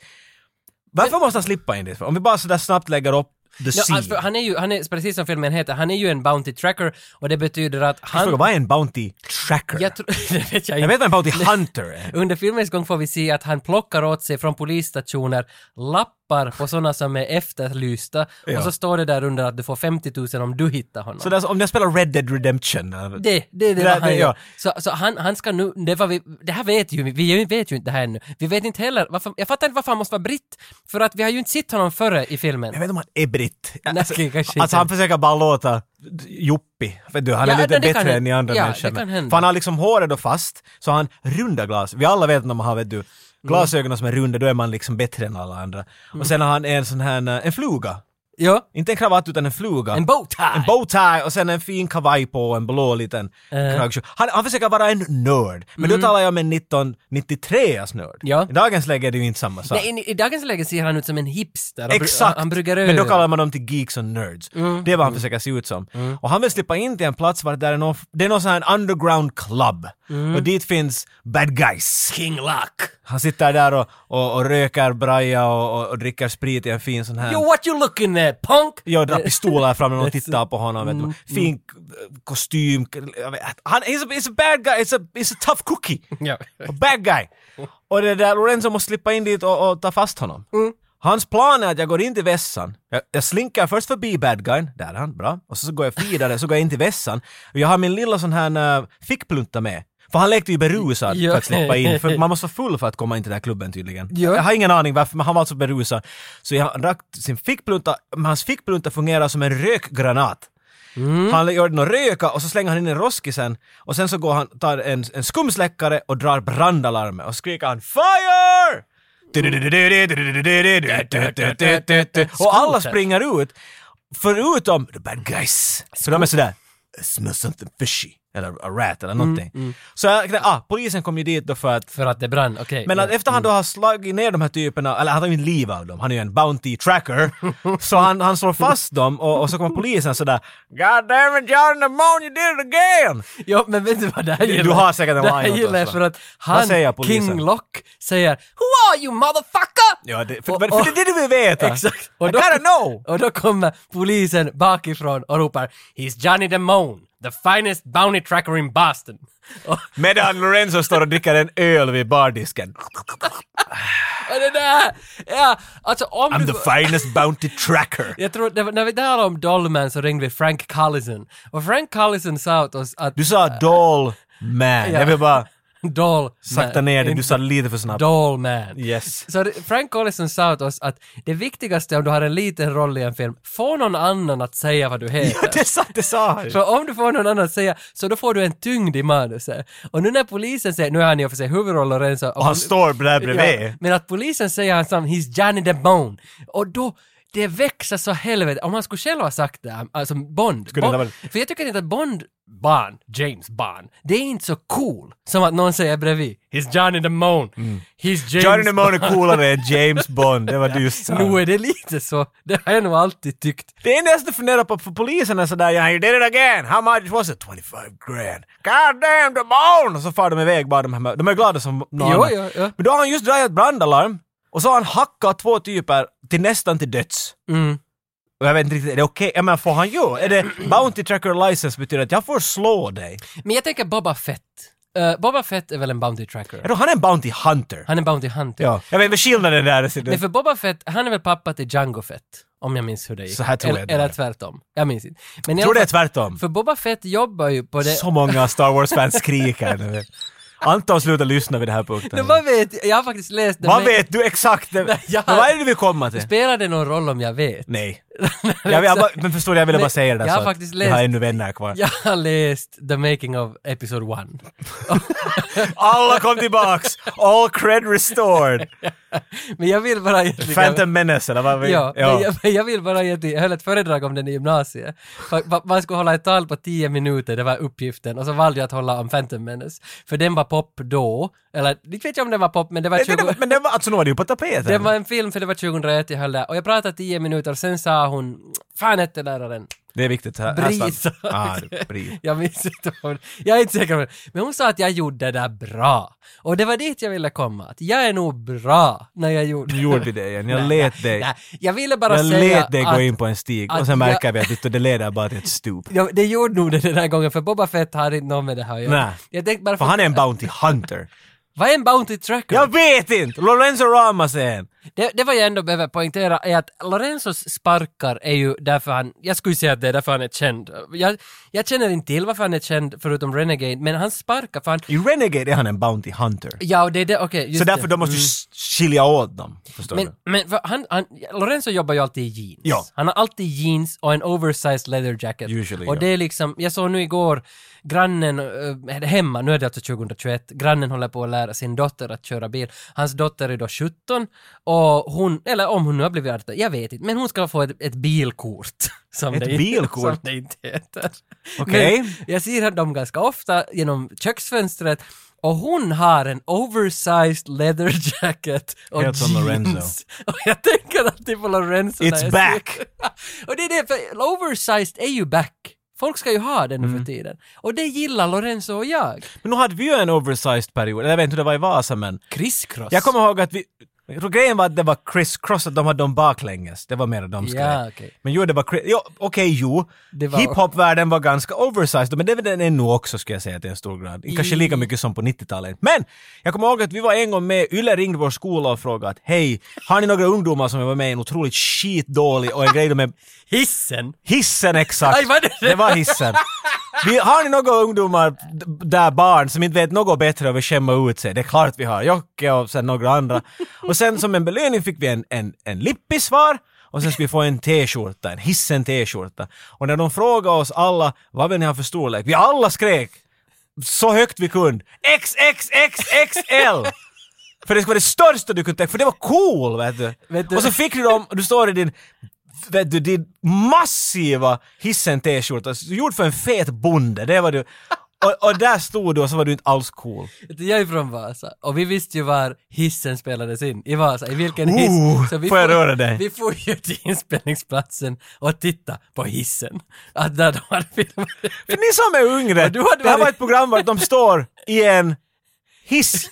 Varför måste han slippa in dit? för? Om vi bara sådär snabbt lägger upp the
Ja,
scene.
alltså, han är ju, han är, precis som filmen heter, han är ju en Bounty Tracker och det betyder att
Jag frågar,
han...
vad är en Bounty Tracker? Jag,
Jag tror, [laughs] det vet jag
jag
inte.
vet vad en Bounty Hunter är.
Under filmens gång får vi se att han plockar åt sig från polisstationer lappar på sådana som är efterlysta
Ja.
och så står det där under att du får 50 000 om du hittar honom.
Så det är alltså, om jag spelar Red Dead Redemption.
Det,
eller-
det är det,
Det där-
vad han
det-
gör.
ja.
Så, så han, han ska nu, det, var vi, det här vet ju vi, vi vet ju inte det här ännu. Vi vet inte heller, varför, jag fattar inte varför han måste vara britt, för att vi har ju inte sett honom före i filmen.
Jag vet inte om han är britt.
Nej, kanske inte.
alltså han försöker bara låta Joppi. Vet du, han
Ja,
är
det-
lite
det kan
bättre än
hända.
de andra
Ja, det kan
människorna.
hända.
För han har liksom håret då fast, så har han runda glas. Vi alla vet när man har, vet
Mm.
du, glasögonen som är runda, då är man liksom bättre än alla andra.
Mm.
Och sen har han en sån här, eh, en fluga.
Ja,
Inte en kravatt utan en fluga.
en bowtie!
En bowtie och sen en fin kavaj på och en blå liten
Eh.
kragsjö. Han, han försöker vara en nörd. Men då talar jag om en 1993-as nörd.
Mm. Ja.
I dagens läge är det ju inte samma sak.
Nej, i, I dagens läge ser han ut som en hipster. Han bru-
Exakt!
Han brygger öl.
men då kallar man dem till geeks och nerds. Det är vad han försöker se ut som. Och han vill slippa in till en plats var det är någon, det är någon sån här underground club. Och dit finns bad guys.
King Luck.
Han sitter där och, och, och röker braja och, och, och dricker sprit i en fin sån här...
Yo, what you looking at, punk?
Jag drar pistoler fram när och
That's-
tittar på honom. Vet du. Fin k- kostym. k- jag vet- Han, he's, a, he's a bad guy, he's a, he's a tough cookie.
Ja.
A bad guy. Och det där Lorenzo måste slippa in dit och, och ta fast honom.
Mm.
Hans plan är att jag går in till vässan. Jag, jag slinkar först förbi bad guyn. Där är han, bra. Och så, så går jag vidare, så går jag in till vässan. Och jag har min lilla sån här uh, fickplunta med. För han lekte ju berusad
Ja.
för att släppa in. För man måste vara full för att komma in till den här klubben tydligen.
Ja.
Jag har ingen aning varför, men han var alltså berusad. Så jag drack sin fickplunta, men hans fickplunta fungerar som en rökgranat. Han gör den att röka och så slänger han in den i roskisen och sen så går han, tar en, en skumsläckare och drar brandalarmet och skriker han FIRE! Och alla springer ut, förutom the bad guys. Så de är sådär "I smell something fishy, eller a rat eller någonting. Så jag, ah, polisen kom ju dit då för att
För att det brann, okej.
men att
ja.
efter han då har slagit ner de här typerna, eller han har ju en liv av dem, han är ju en bounty tracker. [laughs] så han, han slår fast dem och, och så kommer polisen sådär God damn it John Damone, you did it again!
ja, men vet du vad det här
Du- du
gillar?
har säkert en
Det här
line åt
gillar jag
oss, va?
för att
Vad
han,
säger polisen?
King Lock, säger Who are you motherfucker?
Ja, det, för,
Och-
för, för det är det du vill veta!
[laughs] Exakt.
I gotta know!
och då kommer polisen bakifrån och ropar He's Johnny Damone, the finest bounty tracker in Boston. [laughs] Och,
Medan Lorenzo står och dricker en öl vid bardisken.
och det där! Ja, alltså om
I'm
du...
the finest bounty tracker.
jag tror, det var- när vi talade om Dollman så ringde vi Frank Collison. Och Frank Collison sa åt oss att
Du sa doll man. Jag vill bara
Doll...
sakta ner det, du sa lite för snabbt.
Dollman.
[laughs] Yes.
Så det- Frank Collison sa åt oss att det viktigaste om du har en liten roll i en film, få någon annan att säga vad du heter.
Det sa, det sa han ju.
För om du får någon annan att säga, så då får du en tyngd i manuset. Och nu när polisen säger, nu är han i och för sig huvudrollen Renzo.
Och han står där
ja,
bredvid.
Men att polisen säger hans namn, he's Johnny the Bone. Och då, det växer så helvete. Om han skulle själv ha sagt det, alltså Bond.
Skulle det
Bond för jag tycker inte att Bond, Bond, James Bond, det är inte så cool som att någon säger bredvid, he's Johnny the Bone, he's James
Mm. Johnny Damone är
Bond."
coolare än James
[laughs]
Bond, det var du just sa.
Nu är det lite så. Det har jag nog alltid tyckt.
Det enda jag funderar på för polisen är sådär yeah, you did it again, how much was it? 25 grand. God damn the bone! Och så far de iväg bara de här, de är glada som någon
Jo,
annan.
jo, jo.
Men då har han just dragit brandalarm Och så har han hackat två typer till nästan till döds.
Mm.
Och jag vet inte riktigt, är det okej? Ja men får han ju?
[clears throat]
Är det Bounty Tracker License betyder att jag får slå dig?
Men jag tänker Boba Fett. Eh, Boba Fett är väl en Bounty Tracker?
Jag tror han är en Bounty Hunter.
Han är en Bounty Hunter.
Ja. Jag vet inte skillnaden där. Så
Nej,
det,
för Boba Fett, han är väl pappa till Django Fett? Om jag minns hur det gick.
Så här tror jag
eller,
det var.
eller tvärtom. Jag minns inte. Men i
jag tror
alla
det är
fall-
tvärtom.
För Boba Fett jobbar ju på [laughs] det...
Så många Star Wars-fans skriker nu. Anton slutar lyssna vid den här punkten.
Nej, vad vet jag? Jag har faktiskt läst det.
Vad
men-
vet du exakt? Men
jag-
Vad är det du vill komma till?
Spelar det någon roll om jag vet?
Nej.
[laughs]
Jag, jag, bara- men förstår du, jag ville
Men
bara säga det där
jag
så
har
att
faktiskt
jag har
läst-
ännu vänner kvar.
Jag har läst The Making of Episode 1.
Alla kom tillbaks! All cred restored!
[laughs] Men jag vill bara egentligen...
Phantom Menace eller vad vi...
Ja, Men, jag, men jag vill bara ge till, jag höll ett föredrag om den i gymnasiet. Fa- fa- Man skulle hålla ett tal på 10 minuter, det var uppgiften, och så valde jag att hålla om Phantom Menace. För den var pop då, eller inte vet jag om den var pop, men det var
Men
20...
det var- Men det var, alltså nu var det ju på tapeten.
Det var en film, för det var 2001 jag höll där, och jag pratade 10 minuter, och sen sa hon, fan hette läraren?
Det är viktigt. Här,
Brisa.
Ah, bris.
Jag minns inte vad hon, jag är inte säker på det. Men hon sa att jag gjorde det där bra. Och det var dit jag ville komma, att jag är nog bra när jag gjorde
Nu
det.
gjorde vi det igen. Jag lät dig.
Nej, jag ville bara
Jag
säga
lät dig
att,
gå in på en stig och
att
sen märker
jag-
vi att det leder bara till ett stup.
Ja, det gjorde nog det den här gången, för Boba Fett har inte något med det här att göra.
Nej.
Jag tänkte bara,
För han är en Bounty Hunter.
vad är en Bounty Tracker?
Jag vet inte! Lorenzo Ramos är en.
Det, det var jag ändå behöver poängtera är att Lorenzos sparkar är ju därför han, jag skulle säga att det är därför han är känd. Jag, jag känner inte till varför han är känd förutom Renegade, men han sparkar för han,
I Renegade är han en Bounty Hunter.
ja och det är det, okej. just
Så därför
det.
de måste ju s- skilja åt dem. Förstår
Men,
du?
men för han, han, Lorenzo jobbar ju alltid i jeans.
Ja.
Han har alltid jeans och en oversized leather jacket.
Usually,
och
ja.
det är liksom, jag såg nu igår, grannen eh, hemma, nu är det alltså 2021, grannen håller på att lära sin dotter att köra bil. Hans dotter är då 17 och hon, eller om hon nu har blivit 18, jag vet inte, men hon ska få ett, ett bilkort. [laughs] Som
Ett
det,
bilkort?
Som det inte heter.
Okej.
Men Jag ser dem ganska ofta genom köksfönstret och hon har en oversized leather jacket och
Helt som
jeans. [laughs]
Lorenzo.
Och jag tänker alltid på Lorenzo.
It's
när jag
back.
ser- [laughs] och det är det, för oversized är ju back. Folk ska ju ha den
Mm.
nu för tiden. Och det gillar Lorenzo och jag.
Men nu hade vi ju en oversized period. Eller Jag vet inte hur det var i Vasa men.
Crisscross.
Jag kommer ihåg att vi... Jag tror grejen var att det var Chris Cross, att de hade dem baklänges. Det var mer de skulle.
Ja, okej.
Men jo, det var Chris... Jo, okej, jo.
Det var-
Hiphop-världen var ganska oversized, men det är den ännu också skulle jag säga till en stor grad. Kanske lika mycket som på 90-talet. Men! Jag kommer ihåg att vi var en gång med, Yle ringde vår skola och frågade att hej, har ni några ungdomar som var med i en otroligt skitdålig och en grej de är
Hissen!
Hissen exakt!
Aj, var det det?
det var hissen. Vi, har ni några ungdomar d- där barn som inte vet något bättre och vill skämma ut sig? Det är klart vi har. Jocke och sen några andra. Och sen som en belöning fick vi en, en, en lippis var och sen skulle vi få en t-skjorta, en hissen t-skjorta. Och när de frågade oss alla vad vill ni ha för storlek? Vi alla skrek så högt vi kunde. XXXXL! För det skulle vara det största du kunde tänka för det var cool vet du.
Vet du-
Och så fick du dem, och du står i din, vet du, din massiva hissen t-skjorta, gjord för en fet bonde, det var du. Och, och där stod du och så var du inte alls cool.
Jag är från Vasa och vi visste ju var hissen spelades in i Vasa, i vilken hiss.
Ooh, Oh, får jag
for-
röra dig?
Vi får ju till inspelningsplatsen och titta på hissen. Att där de hade filmat.
För ni som är yngre,
du hade
det här
varit-
var ett program var de står i en hiss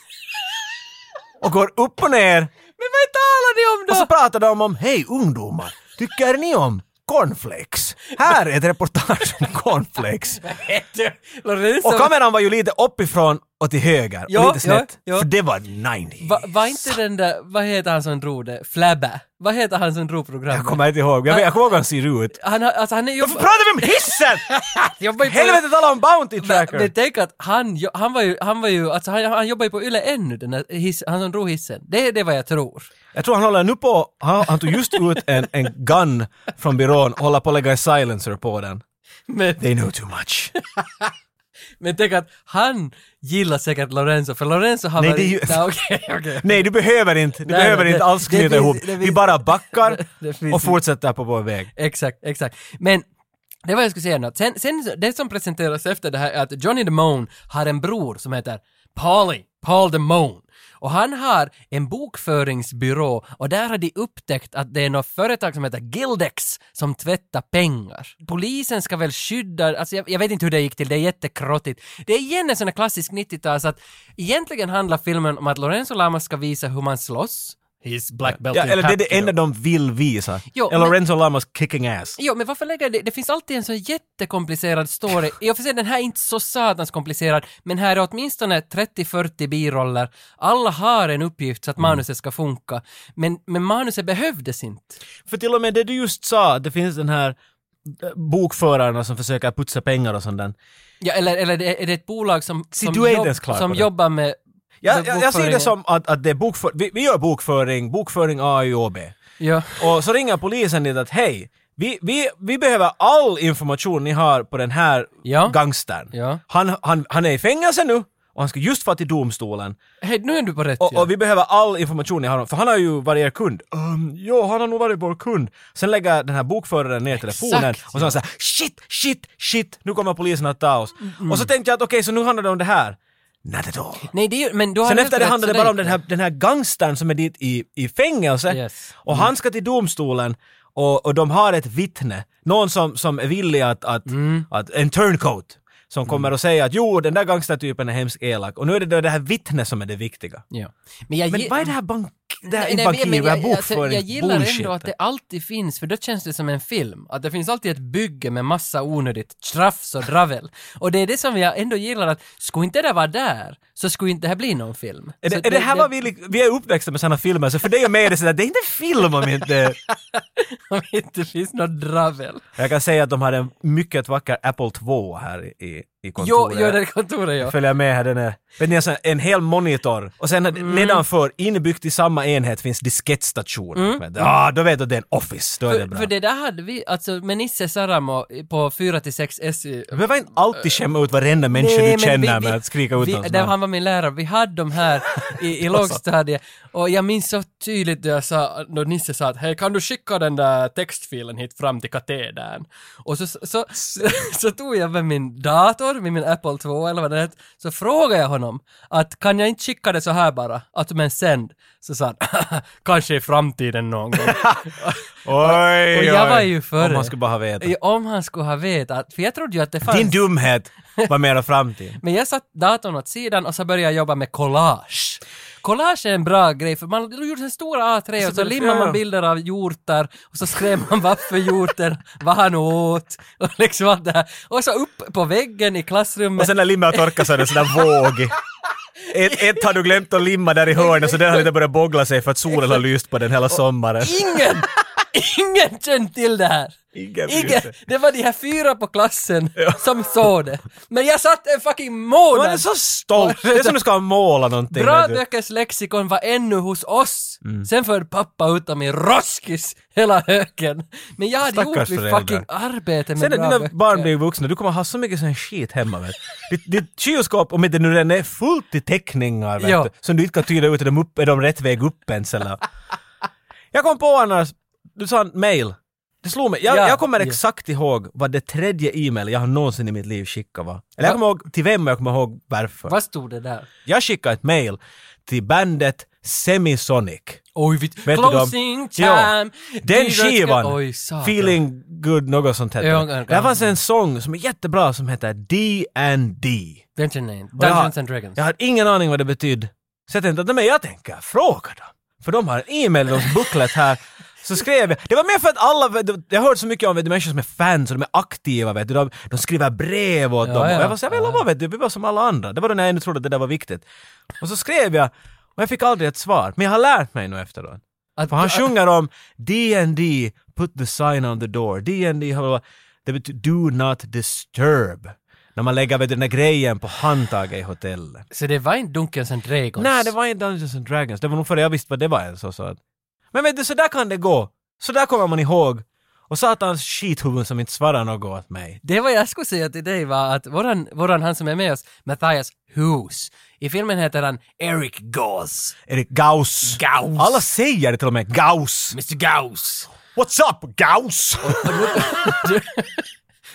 och går upp och ner
Men vad talar ni om då?
och så pratar de om hej ungdomar, tycker ni om cornflakes? Här är ett reportage
[laughs]
om cornflakes.
Peter Lorenzo,
Och kameran var ju lite uppifrån och till höger,
Ja,
och lite snett.
ja, ja.
För det var 90
va, var inte den där, vad heter han som drog det? Flabba? Vad heter han som drog programmet?
Jag kommer inte ihåg, jag, vet- jag kommer ihåg hur han ser ut.
Han, har- alltså, han är
Varför pratar vi om
[laughs]
hissen?
jobbar ju på-
Helvete tala om Bounty
Men, men
Tracker!
tänk att han, jo- han var ju, han var ju, alltså han, han jobbar ju på Yle ännu, den där hiss, han som drog hissen. Det är det är vad jag tror.
Jag tror han håller nu på, han, han tog just ut en, en gun från byrån och håller på att lägga en silencer på den.
Men,
They know too much.
men tänk att han gillar säkert Lorenzo, för Lorenzo har
Nej,
varit...
det är ju-
Nej, okej, okej.
Nej, du behöver inte, du
Nej,
behöver
det-
inte alls
det
knyta
finns-
ihop.
det
Vi
finns-
bara backar
[laughs] det finns
och
inte.
fortsätter på vår väg.
Exakt, exakt. Men det var jag skulle säga något. Sen, sen det som presenteras efter det här är att Johnny Demone har en bror som heter Paulie, Paul Demone. Och han har en bokföringsbyrå och där har de upptäckt att det är något företag som heter Gildex som tvättar pengar. Polisen ska väl skydda, alltså jag, jag vet inte hur det gick till, det är jättekrottigt. Det är igen en sån här klassisk 90-tals att egentligen handlar filmen om att Lorenzo Lamas ska visa hur man slåss, He's black belt
Ja,
in
eller det är
Hapkido.
det enda de vill visa.
Jo,
eller
men-
Lorenzo Lamas kicking ass.
Jo, men varför lägger det... Det finns alltid en så jättekomplicerad story. I och för sig, den här är inte så satans komplicerad, men här är åtminstone 30-40 biroller. Alla har en uppgift så att
Mm.
manuset ska funka. Men, men manuset behövdes inte.
För till och med det du just sa, att det finns den här eh, bokförarna som försöker putsa pengar och sånt där.
Ja, eller, eller det- är det ett bolag som,
Se,
som,
du är inte ens klar
som
på det.
jobbar med...
Jag,
med
jag, jag ser det
bokföringen?
som att, att det är bokför, vi, vi gör bokföring, bokföring A, U och B.
Ja.
Och så ringer polisen dit att hej, vi, vi, vi behöver all information ni har på den här
Ja.
gangstern.
Ja.
Han, han, han är i fängelse nu och han ska just vara till domstolen.
Hej, nu är du på rätt
Och,
ja.
och vi behöver all information ni har om- för han har ju varit er kund. Um, jo, han har nog varit vår kund. Sen lägger den här bokföraren ner telefonen
Exakt,
och så säger shit, shit, shit, nu kommer polisen att ta oss.
Mm.
Och så tänkte jag att okej, så nu handlar det om det här. Not at all.
Nej, det är ju... Men du har
Sen
helt
efter det
rätt,
handlar
så
det bara om den här, den här gangstern som är dit i, i fängelse
Yes.
och han ska till domstolen och, och de har ett vittne, någon som, som är villig att, att,
Mm.
att en turncoat som kommer och säger att jo, den där gangstertypen är hemskt elak och nu är det då det här vittnet som är det viktiga.
Ja. Men, jag
Men
ge-
vad är det här bank... Det här,
Nej,
inte
nej, men-
bankir,
men
det här
jag- alltså, Jag gillar
bokföringsbullshit.
ändå att det alltid finns, för då känns det som en film. Att det finns alltid ett bygge med massa onödigt trafs och dravel. Och det är det som jag ändå gillar att, skulle inte det vara där, så skulle inte det här bli någon film.
Är det,
Så
är det här vad vi, lik- vi är uppväxta med sådana filmer, så för dig och mig är det sådär, det är inte film om inte...
[laughs] Om det inte finns något dravel.
Jag kan säga att de hade en mycket vacker Apple 2 här i- i, i
Jo,
kontoret.
jo, det är kontoret, ja.
följa med här, den är, vet ni, alltså en hel monitor och sen
Mm.
nedanför, inbyggt i samma enhet, finns diskettstationen. Men, ah, då vet du att det är en Office, då är det
Mm. För,
bra.
för det där hade vi, alltså med Nisse Saramo på 4-6 SY.
Du behöver inte alltid skämma ut varenda människa
Nej,
du
men
känner
vi- vi-
med att skrika Alltså. ut
vi,
någons
där
namn.
Han var min lärare, vi hade de här i,
[laughs]
i lågstadiet och jag minns så tydligt då jag sa, då Nisse sa att hej kan du skicka den där textfilen hit fram till katedern? Och så, så, så, [laughs] så tog jag med min dator, med min Apple 2 eller vad det hette, så frågade jag honom att kan jag inte skicka det så här bara, att men sänd? Så sa han [laughs] kanske i framtiden någon
[laughs]
gång.
Oj,
och jag
oj.
var ju före.
Om man skulle bara veta.
Om han skulle ha vetat, för jag trodde ju att det fanns.
Din dumhet var mera framtid.
Men jag satt datorn åt sidan och så började jag jobba med collage. Collage är en bra grej för man gjorde en stora A3 och så
det-
limmar
Alltså, ja.
man bilder av hjortar och så skrev man [laughs] varför hjorten, vad han åt och liksom allt det här. Och så upp på väggen i klassrummet.
Och sen när limmet har torkat så är det en sån där våg. Ett, ett har du glömt att limma där i hörnet så den har lite börjat boggla sig för att solen har lyst på den hela sommaren.
Ingen! Ingen kände till det här!
Ingen brydde
Ingen!
sig.
Det var de här fyra på klassen som såg det. Men jag satt en fucking månad!
Man är så stolt! Det är som du ska måla någonting.
Bra
vet du.
böckers lexikon var ännu hos oss.
Mm.
Sen förde pappa ut dem i roskis hela högen. Men jag hade
Stackars
gjort mitt
föräldrar.
fucking arbete med
Sen när
bra
dina
böcker.
barn blir vuxna, du kommer ha så mycket sån skit hemma. Vet. du. Ditt, ditt kylskåp, om inte nu den är fullt i teckningar, vet
Ja.
du, som du inte kan tyda ut, är de, upp, är de rätt väg upp ens eller? Jag kom på annars, du sa en mail. Det slog mig. Jag,
Ja,
jag kommer
ja.
exakt ihåg vad det tredje e-mail jag har någonsin i mitt liv skickat var. Eller jag
Va?
kommer ihåg till vem och jag kommer ihåg varför.
Vad stod det där?
Jag skickade ett mail till bandet Semisonic.
Oj, vi...
Vet du dem?
Closing
Ja.
time!
Den
Vi ska-
skivan,
Oj, satan.
Feeling Good, något sånt hette
Ja,
det.
ja,
Där
ja.
fanns en sång som är jättebra som heter D&D.
Den känner jag inte.
Och jag har-
Dungeons and Dragons.
Jag har ingen aning vad det betyder. Så jag tänkte att men jag tänker fråga dem. För de har en e-mail, de booklet här. Så skrev jag. Det var mer för att alla, jag har hört så mycket om vet du, människor som är fans och de är aktiva vet du. De, de skriver brev åt
Ja,
dem. Och
ja.
jag var så jag vill
Ja.
lova vet du, vi var som alla andra. Det var då när jag ännu trodde att det där var viktigt. Och så skrev jag och jag fick aldrig ett svar. Men jag har lärt mig nu efteråt.
Att-
För han
att-
sjunger om D&D, put the sign on the door. D&D, har- det betyder do not disturb. När man lägger vet du, den där grejen på handtaget i hotellet.
Så det var inte Dungeons and Dragons?
Nej, det var inte Dungeons and Dragons. Det var nog före jag visste vad det var ens. och Så att... Men vet du, så där kan det gå. Så där kommer man ihåg. Och satans skithuvud som inte svarar något åt mig.
Det var jag skulle säga till dig var att våran, våran han som är med oss, Matthias Hus, i filmen heter han Eric Gauss.
Erik Gauss.
Gauss.
Alla säger det till och med. Gauss.
Mr Gauss!
What's up, Gauss?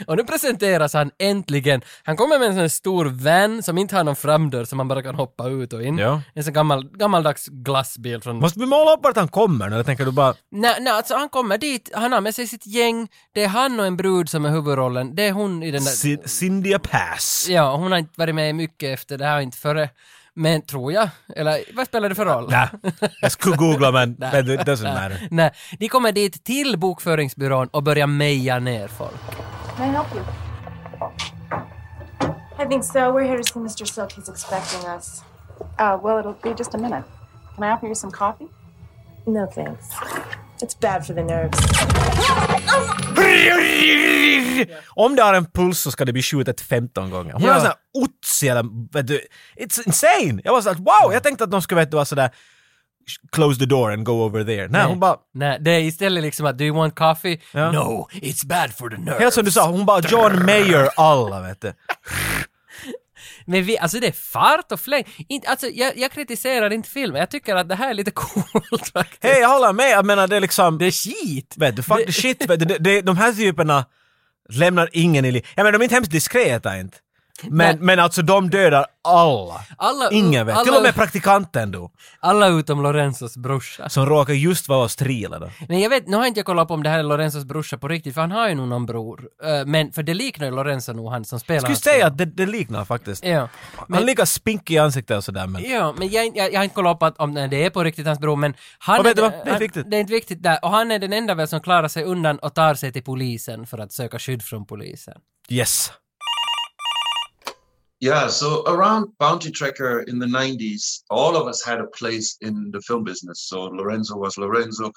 Och nu presenteras han äntligen. Han kommer med en sån här stor van som inte har någon framdörr som man bara kan hoppa ut och in.
Ja.
En sån gammal, gammaldags glassbil från...
Måste vi måla upp vart han kommer? Eller tänker du bara...
Nej, nej, alltså han kommer dit, han har med sig sitt gäng, det är han och en brud som är huvudrollen, det är hon i den där...
Cin- Cynthia Pass.
Ja, hon har inte varit med mycket efter det här, inte före. Men tror jag, eller vad spelar det för roll?
Nej, Äh, jag skulle googla men,
Nej.
men it doesn't matter.
Nej, de kommer dit till bokföringsbyrån och börjar meja ner folk.
Can I help you? I think so. We're here to see Mr. Silk. He's expecting us. Uh, well, it'll be just a minute. Can I offer you some coffee? No, thanks. It's bad for the nerves.
Om det har en puls så ska det bli skjutet 15 gånger. Hon
Ja.
har sån här ots eller vet du, it's insane! Jag var såhär wow, jag tänkte att de skulle vet du vara sådär close the door and go over there. Nej, hon bara,
Nej, det är istället liksom att do you want coffee?
Ja.
No, it's bad for the nerves.
helt som du sa, hon bara John Mayer alla vet du.
Men vi, alltså det är fart och fläng. Inte, alltså jag, jag kritiserar inte filmen, jag tycker att det här är lite [laughs] coolt faktiskt.
Hej, jag håller med, jag menar det är liksom...
Det är skit!
Vet du, fuck the shit. Vet du, de, de, de här typerna lämnar ingen i livet. Jag menar, de är inte hemskt diskreta inte.
Nej.
Men, men alltså de dödar alla.
Alla-
ingen vet. Till
alla-
och med praktikanten då.
Alla utom Lorenzos brorsa.
Som råkar just vara hos Trila då.
Men jag vet, nu har inte jag kollat upp om det här är Lorenzos brorsa på riktigt, för han har ju nog någon bror. Eh, Men, för det liknar ju Lorenzo nog han som spelar
Jag skulle
hans
säga att det, det liknar faktiskt.
bror. Ja. Men,
Han är lika spinkig i ansiktet och sådär men...
Ja, men jag, jag, jag har inte kollat upp att, om det är på riktigt hans bror, men han
Och vet
är,
du vad?
den-
Det är
han,
viktigt.
Det är inte viktigt där. Och han är den enda väl som klarar sig undan och tar sig till polisen för att söka skydd från polisen. [laughs]
Yes.
Yeah, so around Bounty Tracker in the 90s, all of us had a place in the film business. So Lorenzo was Lorenzo,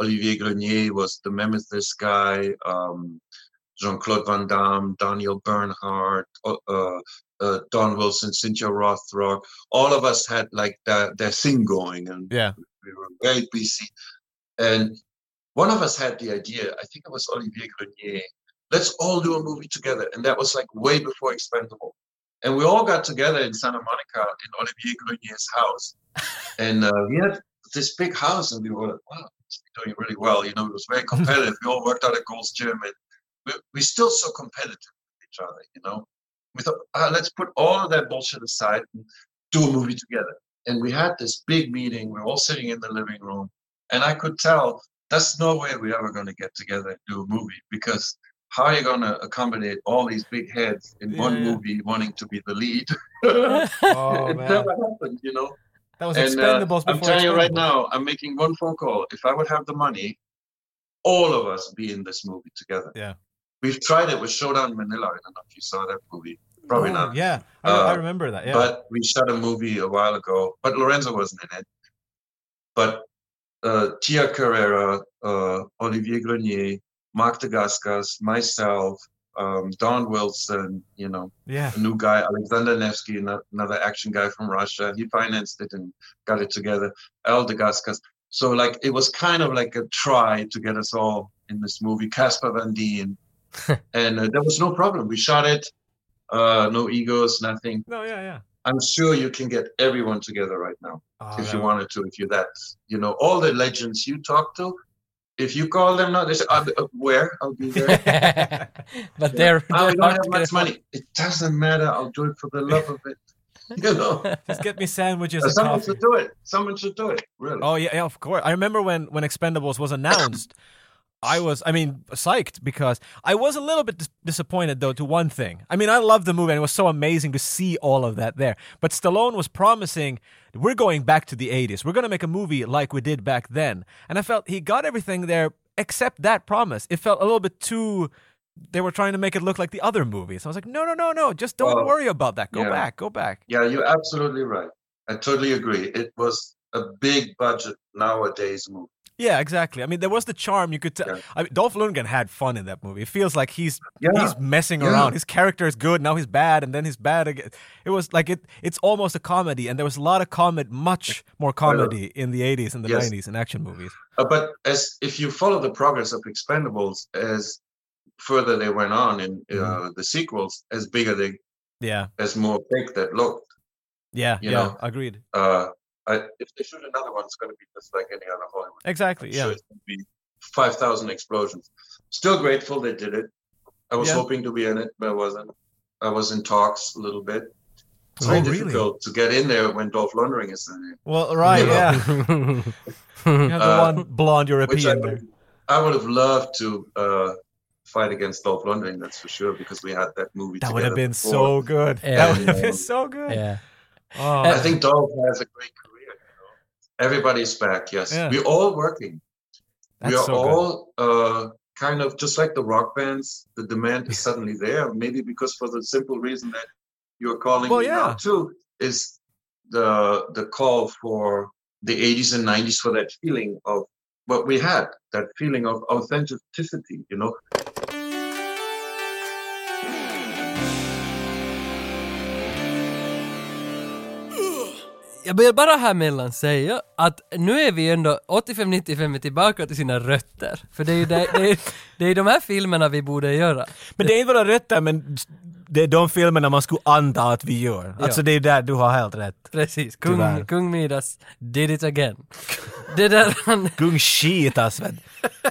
Olivier Grenier was the Mammothist guy, um, Jean Claude Van Damme, Daniel Bernhardt, uh, uh, uh, Don Wilson, Cynthia Rothrock. All of us had like that, their thing going, and
Yeah.
we were very busy. And one of us had the idea, I think it was Olivier Grenier, let's all do a movie together. And that was like way before Expendable. And we all got together in Santa Monica in Olivier Grenier's house. And uh, we had this big house, and we were like, wow, it's doing really well. You know, it was
[laughs]
very
Mm-hmm.
competitive. we all worked out at Gold's Gym, and we, we're still so competitive with each other, you know. We thought, ah, let's put all of that bullshit aside and do a movie together. And we had this big meeting. We were all sitting in the living room, and I could tell that's no way we're ever going to get together and do a movie because how are you going to accommodate all these big heads in one
Yeah.
movie wanting to be the
[laughs]
lead? [laughs] it
Oh,
never happened, you know.
That was
And uh,
Expendables
I'm
before
telling you right
Expendables.
now, I'm making one phone call. If I would have the money, all of us be in this movie together.
Yeah.
We've tried it with Showdown Manila. I don't know if you saw that movie. Probably
Oh,
not.
Yeah, I,
Uh,
I remember that. Yeah.
But we shot a movie a while ago, but Lorenzo wasn't in it. But uh, Tia Carrera, uh, Olivier Grenier, Mark Degaskas, myself, um, Don Wilson, you know,
yeah.
a new guy, Alexander Nevsky, ano- another action guy from Russia. He financed it and got it together. El Degaskas. So like it was kind of like a try to get us all in this movie. Casper Van Dien, and uh, there was no problem. We shot it. Uh, no egos, nothing.
No, yeah, yeah.
I'm sure you can get everyone together right now
Oh,
if
that-
you wanted to. If you're that, you know, all the legends you talk to, if you call them now, they say, "I'll be- uh, "Where? I'll be there."
But they're,
I
they're [laughs]
don't have much money. It doesn't matter. I'll do it for the love of [laughs] it. You know,
Just get me sandwiches and
someone
coffee.
should do it. Someone should do it. Really.
Oh yeah, yeah, of course. I remember when when Expendables was
[coughs]
announced. I was, I mean, psyched because I was a little bit dis- disappointed though to one thing. I mean, I loved the movie and it was so amazing to see all of that there. But Stallone was promising, we're going back to the 80s. We're going to make a movie like we did back then. And I felt he got everything there except that promise. It felt a little bit too, they were trying to make it look like the other movies. I was like, no, no, no, no, just don't
Well,
worry about that. Go
yeah.
back, go back.
Yeah, you're absolutely right. I totally agree. It was a big budget nowadays movie.
Yeah, exactly. I mean, there was the charm you could tell.
Yeah.
I mean, Dolph Lundgren had fun in that movie. It feels like he's
Yeah.
he's messing
Yeah.
around. His character is good, now he's bad, and then he's bad again. It was like it. It's almost a comedy, and there was a lot of comedy, much more comedy in the '80s and the
Yes.
'90s in action movies.
Uh, but as if you follow the progress of Expendables, as further they went on in uh, the sequels, as bigger they,
Yeah,
as more fake that looked.
yeah,
You
yeah.
know.
Agreed.
Uh, I, if they shoot another one, it's going to be just like any other Hollywood.
Exactly.
I'm
Yeah.
sure it's going to be 5,000 explosions. Still grateful they did it. I was
Yeah.
hoping to be in it, but I wasn't. I was in talks a little bit. It's very
Oh, really?
difficult to get in there when Dolph Lundgren is in it.
Well, right.
[laughs]
Yeah.
Yeah.
You have the
Uh,
one blonde
Which I
European. there.
would, I would have loved to uh, fight against Dolph Lundgren, that's for sure, because we had that movie
That
together
would have been
before.
so good.
Yeah.
That would have been so good. Oh.
yeah.
I think Dolph has a great career. You know? Everybody's back. Yes,
Yeah.
we're all working. we
That's
are
so good.
all uh, kind of just like the rock bands. The demand
[laughs]
is suddenly there. Maybe because for the simple reason that you're calling
Well,
me now
yeah.
too is the the call for the 80s and 90s for that feeling of what we had, that feeling of authenticity. You know,
Jag vill bara här mellan säga att nu är vi ändå 85-95 är tillbaka till sina rötter. För det är ju det, det är, det är de här filmerna vi borde göra.
Men det är inte våra rötter, men det är de filmerna man skulle anta att vi gör. Alltså det är där du har helt rätt.
Precis,
Tyvärr.
kung, kung Midas did it again. Det där han,
Gung shit alltså.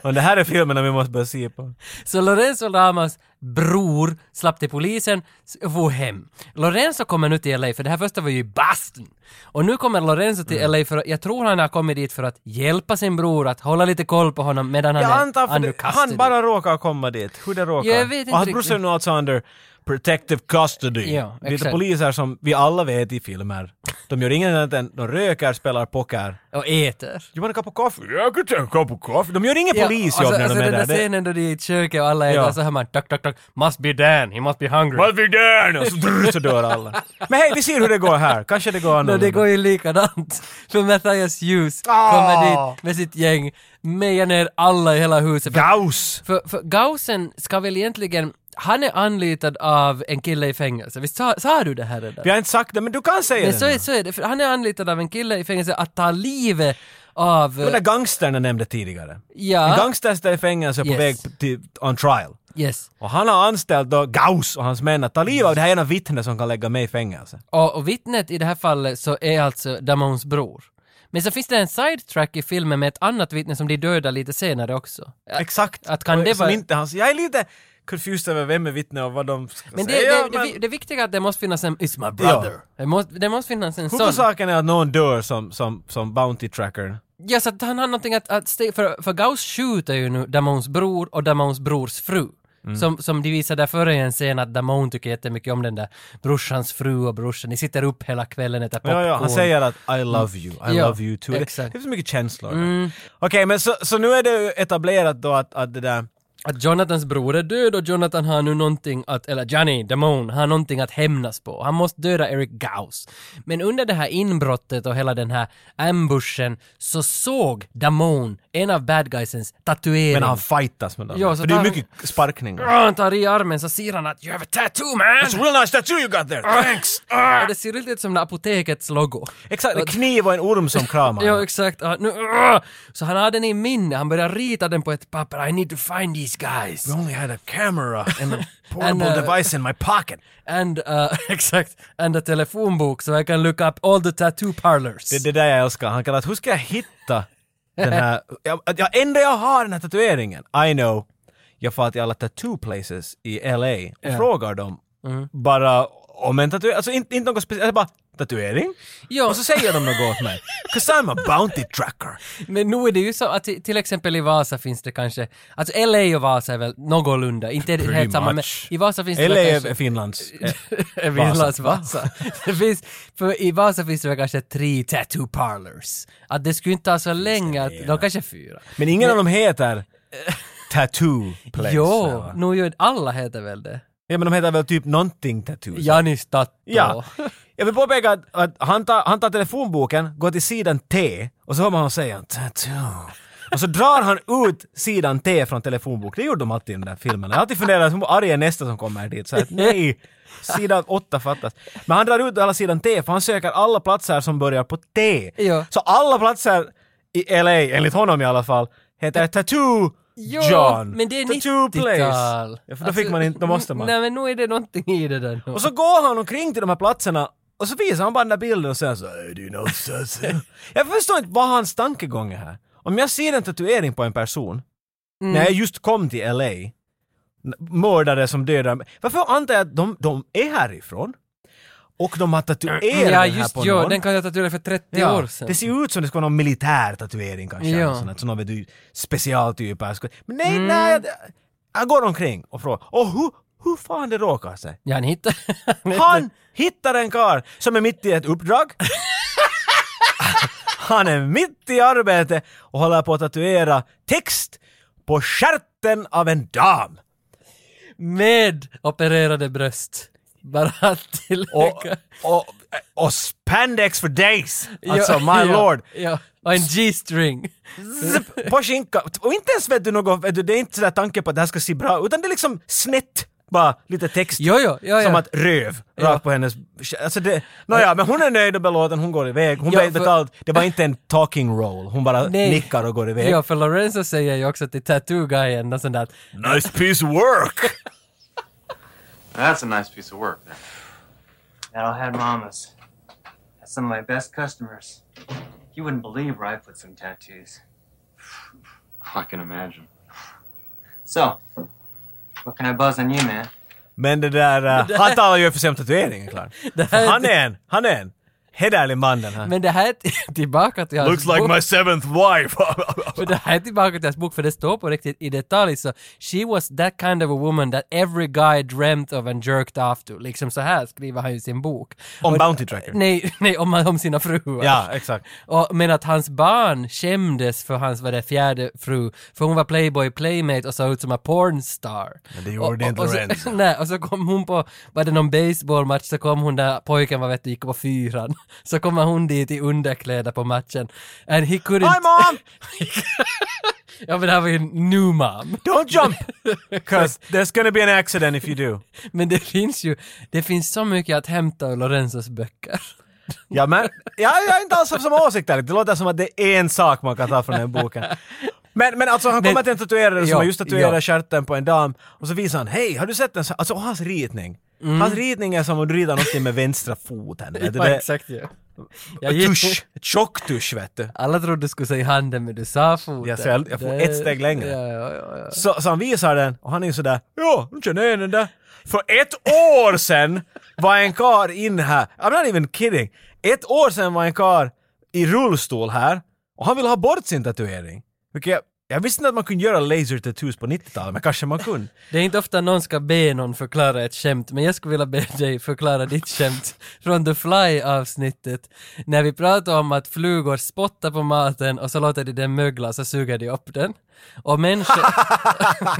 Och det här är filmerna vi måste börja se på.
så Lorenzo Lamas bror slapp till polisen s- och for hem. Lorenzo kommer nu till LA, för det här första var ju i Boston. Och nu kommer Lorenzo till
Mm.
LA för att, jag tror han har kommit dit för att hjälpa sin bror att hålla lite koll på honom medan han
Jag
är
antar för
under
det,
custody.
han bara råkar komma dit. Hur det råkar.
Jag vet inte
och hans
riktigt.
brorsa är nu alltså under protective custody.
Ja,
det är
exakt.
poliser som vi alla vet i filmer. De gör inget annat än de röker, spelar poker.
Och äter.
You want a cup of coffee? Yeah, I could take a cup of coffee. De gör inget polisjobb
alltså,
när
alltså
de är
den där
där. Det-
scenen då de är i köket och alla äter
Ja.
och så hör man tack, tack, tack, must be Dan, he must be hungry.
Vad vi där? Och så, drr, så dör alla. Men hej, vi ser hur det går här. Kanske det går
No,
annorlunda.
det går ju likadant. [laughs] För Matthias Hughes
Ah.
kommer dit med sitt gäng, mejar ner alla i hela huset. För,
Gaus!
för, för Gausen ska väl egentligen, han är anlitad av en kille i fängelse. Visst sa, sa du det här redan?
Vi har inte sagt det, men du kan säga
Men
det.
så är, så är det, för han är anlitad av en kille i fängelse att ta livet av...
De där gangsterna jag nämnde tidigare. En
Ja,
gangster sitter i fängelse på
Yes.
väg till on trial.
yes.
Och han har anställt då Gauss och hans män att ta livet av det här ena vittnet som kan lägga mig i fängelse.
Och, och vittnet i det här fallet så är alltså Damons bror. Men så finns det en sidetrack i filmen med ett annat vittne som de dödar lite senare också. Att-
Exakt.
Att kan det
som
vara...
inte hans... Jag är lite confused över vem är vittne och vad de ska
Men det,
säga.
det, det, vi- det viktiga är att det måste finnas en It's my
brother.
Det, måste, det måste finnas en sån.
Huvudsaken är att någon dör som, som, som Bounty Tracker.
Ja, så att han har någonting att... att ste- för, för Gauss skjuter ju nu Damons bror och Damons brors fru.
Mm.
Som, som de visade där före i en scen att Damon tycker jättemycket om den där brorsans fru och brorsan. Ni sitter upp hela kvällen och äter popcorn.
Ja, ja, han säger att I love you, I
Ja,
love you too. Det,
exakt.
det är så mycket känslor. Mm. Okej, men så, så nu är det ju etablerat då att, att det där...
att Jonathans bror är död och Jonathan har nu någonting att, eller Johnny, Damon, har någonting att hämnas på. Han måste döda Eric Gauss. Men under det här inbrottet och hela den här ambushen så såg Damon en av bad guysens tatuering.
Men han fightas med dem.
Ja, så
För det är
tar-
mycket sparkningar.
Ah, Han tar i armen så ser han att “You have a tattoo
It's a
man!”
real nice tattoo you got there! Thanks! Ah!
och det ser riktigt ut som det apotekets logo.
Exakt, en kniv och en orm som
[laughs]
kramar.
Ja, exakt. Ah, nu, ah! Så han har den i minne, han börjar rita den på ett papper. “I need to find these guys”.
We only had a camera
[laughs]
and a portable
And, uh,
device in my pocket.
And, uh, [laughs] exakt, and a telefonbok so I can look up all the tattoo parlors.
Det är det där jag älskar. Han kallar att hur ska jag hitta
[laughs]
den här... Jag, jag, enda jag har den här tatueringen. I know. Jag far till alla tattoo places i LA och frågar dem
Mm.
bara om en tatuering. Alltså inte, inte något speciellt. Bara tatuering?
Ja.
Och så säger de något åt mig. 'Cause I'm a bounty tracker.
Men nu är det ju så att i- till exempel i Vasa finns det kanske, alltså LA och Vasa är väl någorlunda, inte
Pretty
helt samma men
much.
i Vasa finns det
LA
väl
är
kanske... [laughs]
Finlands... eh,
Vasa.
Vasa.
Vasa. [laughs] Det finns, för i Vasa finns det väl kanske tre tattoo parlors. Att det skulle inte ta så länge, att, de kanske är fyra.
Men ingen av dem heter tattoo place.
[laughs] Jo,
eller?
nu gör alla heter väl det.
Ja men de heter väl typ någonting tattoo.
Janis Tatto.
Ja. Jag vill påpeka att, att han, tar, han tar telefonboken, går till sidan T och så hör man honom säga tattoo. Och så drar han ut sidan T från telefonboken. Det gjorde de alltid i den där filmen. Jag har alltid funderat hur arg är nästa som kommer dit. Så att, nej, sidan 8 fattas. Men han drar ut alla sidan T för han söker alla platser som börjar på T.
Ja.
Så alla platser i LA, enligt honom i alla fall, heter Tattoo
Jo,
John.
men det är Alltså,
Tattoo Place.
90-tal.
Ja, för då fick man inte, då måste man.
Nej men nu är det någonting i det där nu.
Och så går han omkring till de här platserna och så visar han bara den där bilden och säger så "Hey, do you know this?"
[laughs]
Jag förstår inte vad hans tankegång är här. Om jag ser en tatuering på en person, när jag just kom till LA, n- mördare som dödar mig. Varför antar jag att de, de är härifrån? Och de har tatueringar
ja
här
just
på
jo,
någon.
den kan jag tatuera för 30 år sedan.
Det ser ut som det ska vara någon militär tatuering kanske,
Ja. Mm.
eller sånt, där, så någon vet du, specialtyp. här ska- Men nej, nej, jag, jag går omkring och frågar, och hur, Hur fan det råkar sig?
Ja, han [laughs] hittade...
Han hittar en karl som är mitt i ett uppdrag. Han är mitt i arbete och håller på att tatuera text på stjärten av en dam.
Med opererade bröst. Bara att
Och,
tillägga.
och, och spandex for days! Alltså,
Ja,
my
ja,
lord.
Ja, och en G-string.
Zip, på Typ, skinka. Och inte ens vet du något, vet du, det är inte sådär tanke på att det här ska se bra utan det är liksom snett, bara lite text.
Jo, jo, jo,
Som
jo.
att röv,
Ja.
rakt på hennes... Alltså det, nåja, men hon är nöjd och belåten, hon går iväg. Hon
Ja,
blev
för-
betald. Det var inte en talking roll. Hon bara
Nej.
nickar och går iväg.
Ja, för Lorenzo säger ju också till Tattoo-guyen något sånt där att
Nice piece of work!
That's a nice piece of work there.
That all had mamas. That's some of my best customers. You wouldn't believe where I put some tattoos. [sighs]
I can imagine.
So, what can I buzz on you, man?
Men
[laughs]
det där... eh, han talar ju för sig om tatueringen, klart.
Det
För
här är
Han
inte-
är en, han är en hederlig man den här.
Men det här är t- [laughs] tillbaka till hans bok.
seventh [laughs] wife!
För det här är tillbaka till hans bok, för det står på riktigt i detalj så “She was that kind of a woman that every guy dreamt of and jerked off to”. Liksom så här skriver han i sin bok.
om
Och-
Bounty Tracker.
Nej, nej om, om sina fruar.
Ja, exakt.
Och, men att hans barn skämdes för hans var det, fjärde fru, för hon var playboy playmate och såg ut som en pornstar.
Men det gjorde
och,
inte
och, och
Lorenzo.
så, [laughs] Nej, och så kom hon på, var det någon baseballmatch så kom hon där pojken var vet du, gick på fyran. [laughs] Så kommer hon dit i underkläder på matchen. And he couldn't...
Hi mom!
ja men det här var ju en new mom.
Don't jump! Cause there's gonna be an accident if you do.
Men det finns ju, det finns så mycket att hämta ur Lorenzos böcker.
Ja, men, ja, jag är inte alls av samma åsikt där. Det låter som att det är en sak man kan ta från den här boken. Men, men alltså han
Men-
kommer till en tatuerare som
Ja,
har just tatuerat
ja.
stjärten på en dam och så visar han “Hej, har du sett den?” så- Alltså och hans ritning. Hans ritning är som om du ritar någonting med vänstra [laughs] foten. Vet
[laughs] Ja,
du? Det är
exakt ja. Jag gick-
tusch, tjock tusch vet du.
Alla trodde du skulle säga handen men du sa foten.
Jag sa- jag får
Det-
ett steg längre.
Ja, ja, ja, ja.
Så, så han visar den och han är ju sådär “Ja, nu känner jag igen den där”. För ett år sedan var en kar in här. I'm not even kidding. Ett år sedan var en kar i rullstol här och han ville ha bort sin tatuering. Vilket jag, jag visste inte att man kunde göra laser tattoos på 90-talet, men kanske man kunde.
Det är inte ofta någon ska be någon förklara ett skämt, men jag skulle vilja be dig förklara ditt skämt [laughs] från The Fly-avsnittet. När vi pratade om att flugor spottar på maten och så låter de den mögla så suger de upp den. Och människor...
[laughs]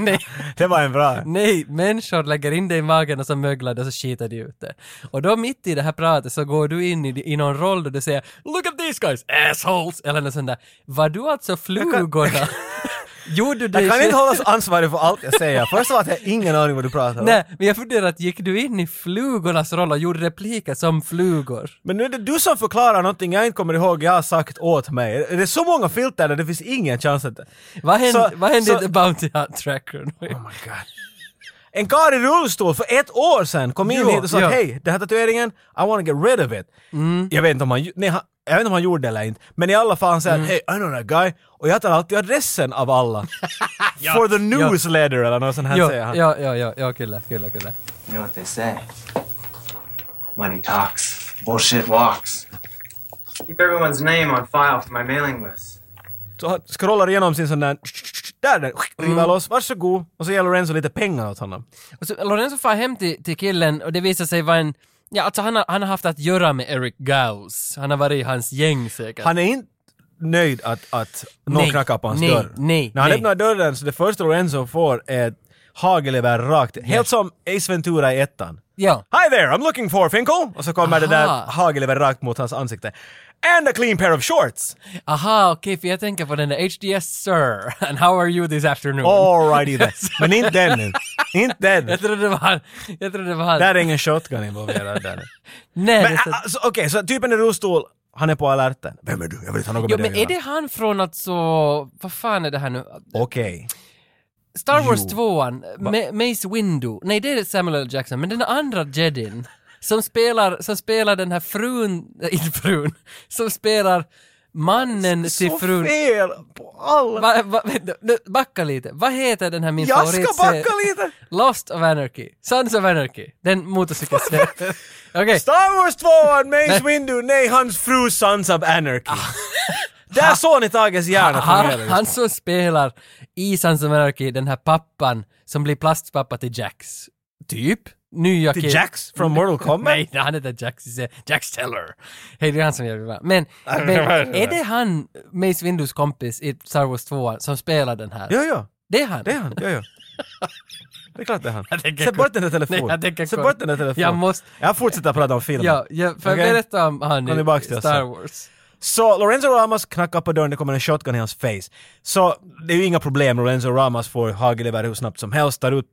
[laughs] nej,
Det var en bra.
nej, människor lägger in det i magen och så möglar det och så skiter de ut det. Och då mitt i det här pratet så går du in i, i någon roll där du säger “Look at these guys, assholes” eller något sånt där. Var du alltså
[laughs]
flugorna? Gjorde du det
Jag kan
själv?
inte hållas ansvarig för allt jag säger. Först av allt har jag ingen aning vad du pratar om.
Nej, men jag funderar att gick du in i flugornas roll och gjorde repliker som flugor?
Men nu är det du som förklarar någonting jag inte kommer ihåg jag har sagt åt mig. Det är så många filter där det finns ingen chans att...
Vad hände,
Så-
vad hände
så-
i The Bounty Hunt Tracker?
Oh my god. En karl i rullstol för ett år sedan kom in
Jo,
hit och sa
ja.
hej, den här tatueringen, I wanna get rid of it. Jag, vet inte om han, ju- nej, han, jag vet inte om han gjorde det eller inte, men i alla fall han säger hej, I know that guy, och jag tar alltid adressen av alla. For the newsletter eller något sånt här
Jo,
säger han.
ja, ja, ja, ja, kyllä, kyllä, kyllä.
You know what they say money talks, bullshit walks. Keep everyone's name on file for my mailing list.
Så han scrollar igenom sin sån där, där den, river loss, varsågod, och så ger Lorenzo lite pengar åt honom.
Och så Lorenzo far hem till, till killen och det visar sig vara en... Ja, alltså han har, han har haft att göra med Eric Gauss. Han har varit i hans gäng säkert.
Han är inte nöjd att, att någon
Nej,
knackar på hans
nej,
dörr.
nej,
När han
nej.
öppnar dörren så det första Lorenzo får är ett hagelgevär rakt, helt som Ace Ventura i ettan.
Ja.
Hi there, I'm looking for Finkel! Och så kommer det där
Aha.
hagelgevär rakt mot hans ansikte. And a clean pair of shorts!
Aha, okej, för jag tänker på den där HDS Sir, [laughs] and how are you this afternoon? [laughs]
Alrighty then. Men inte den nu. Inte den.
Jag trodde det var han. Jag trodde det var han.
Där är ingen shotgun involverad där.
Nej,
Men
det är så-
alltså, okej, så typen i rullstol, han är på alerten. Vem är du? Jag vill inte ha något
Jo,
med
men
dig
är
att
det
göra.
han från alltså... Vad fan är det här nu?
Okej.
Star Wars
Jo.
2an, Ma- Mace Windu, nej det är Samuel L. Jackson, men den andra jedin som spelar, som spelar den här frun, [laughs] äh, inte frun, som spelar mannen till
Så
frun.
fel på alla!
Va, va, vänta, nu, backa lite, vad heter den här min
Jag ska
favoritserie?
backa lite.
Lost of Anarchy, Sons of Anarchy, den motorcykelserien. Okej,
Star Wars 2 Mace Windu, nej hans fru Sons of
Ah.
Anarchy. Där såg ni Tages hjärna
han,
fungera.
han som spelar i Sons of Anarchy, den här pappan som blir plastpappa till Jax. Typ. Nya
Till
kill-
Jax från Mortal Kombat?
Nej, nej, han heter Jax. det är Jax Teller. Hej, det är han som gör det bra. Men,
don't
men
know, I don't
är
know.
det han, Mace Windus kompis i Star Wars 2 som spelar den här?
Ja, ja.
Det är han.
Det är han, ja, ja. Det är klart det är han.
Jag tänker
Sätt
kolla-
bort den där
Nej,
telefonen.
jag tänker
Sätt
kolla.
bort den där telefonen.
Jag måste...
Jag fortsätter prata om filmen.
Ja, ja för
Okej?
berätta om han
Kom
i
tillbaka till oss
Star
sen.
Wars.
Så Lorenzo Ramos knackar på dörren, det kommer en shotgun i hans face. Så det är ju inga problem, Lorenzo Ramos får hagelgevär hur snabbt som helst, tar ut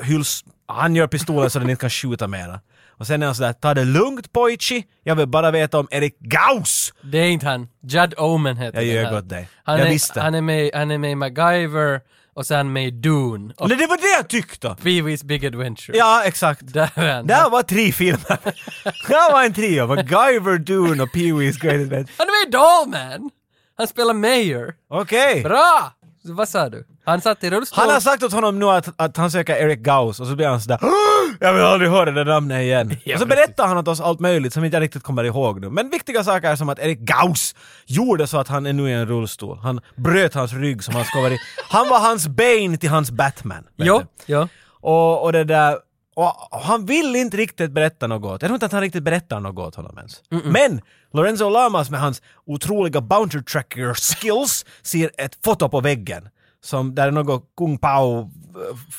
eh, hyls, han gör pistolen så den inte kan skjuta mera. Och sen är han sådär, ta det lugnt pojki, jag vill bara veta om Erik Gauss!
Det är inte han. Judd Omen heter
Jag
den
ljög
här.
åt dig.
Han
Jag
är,
visste.
Han är, med, han är med i MacGyver och sen är han med i Dune och
Nej, det var det jag tyckte!
Pee Wee's Big Adventure.
Ja, exakt.
Där är han.
Det här var tre filmer. [laughs] Det här var en trio, MacGyver, Dune och Pee Wee's Great Adventure.
Han är med i Dollman! Han spelar Mayor.
Okej!
Bra! Så vad sa du? Han satt i rullstol.
Han har sagt åt honom nu att, att han söker Eric Gauss och så blir han sådär "Åh, Jag vill aldrig höra det namnet igen.
Ja,
och så berättar han åt oss allt möjligt som inte jag riktigt kommer ihåg nu. Men viktiga saker är som att Eric Gauss gjorde så att han är nu i en rullstol. Han bröt hans rygg som han ska vara i. Han var hans Bane till hans Batman. vet
Jo,
du.
jo.
Och, och det där... Och, och han vill inte riktigt berätta något. Jag tror inte att han riktigt berättar något åt honom ens. Men Lorenzo Lamas med hans otroliga bouncer tracker skills ser ett foto på väggen. Som där är något kung pao,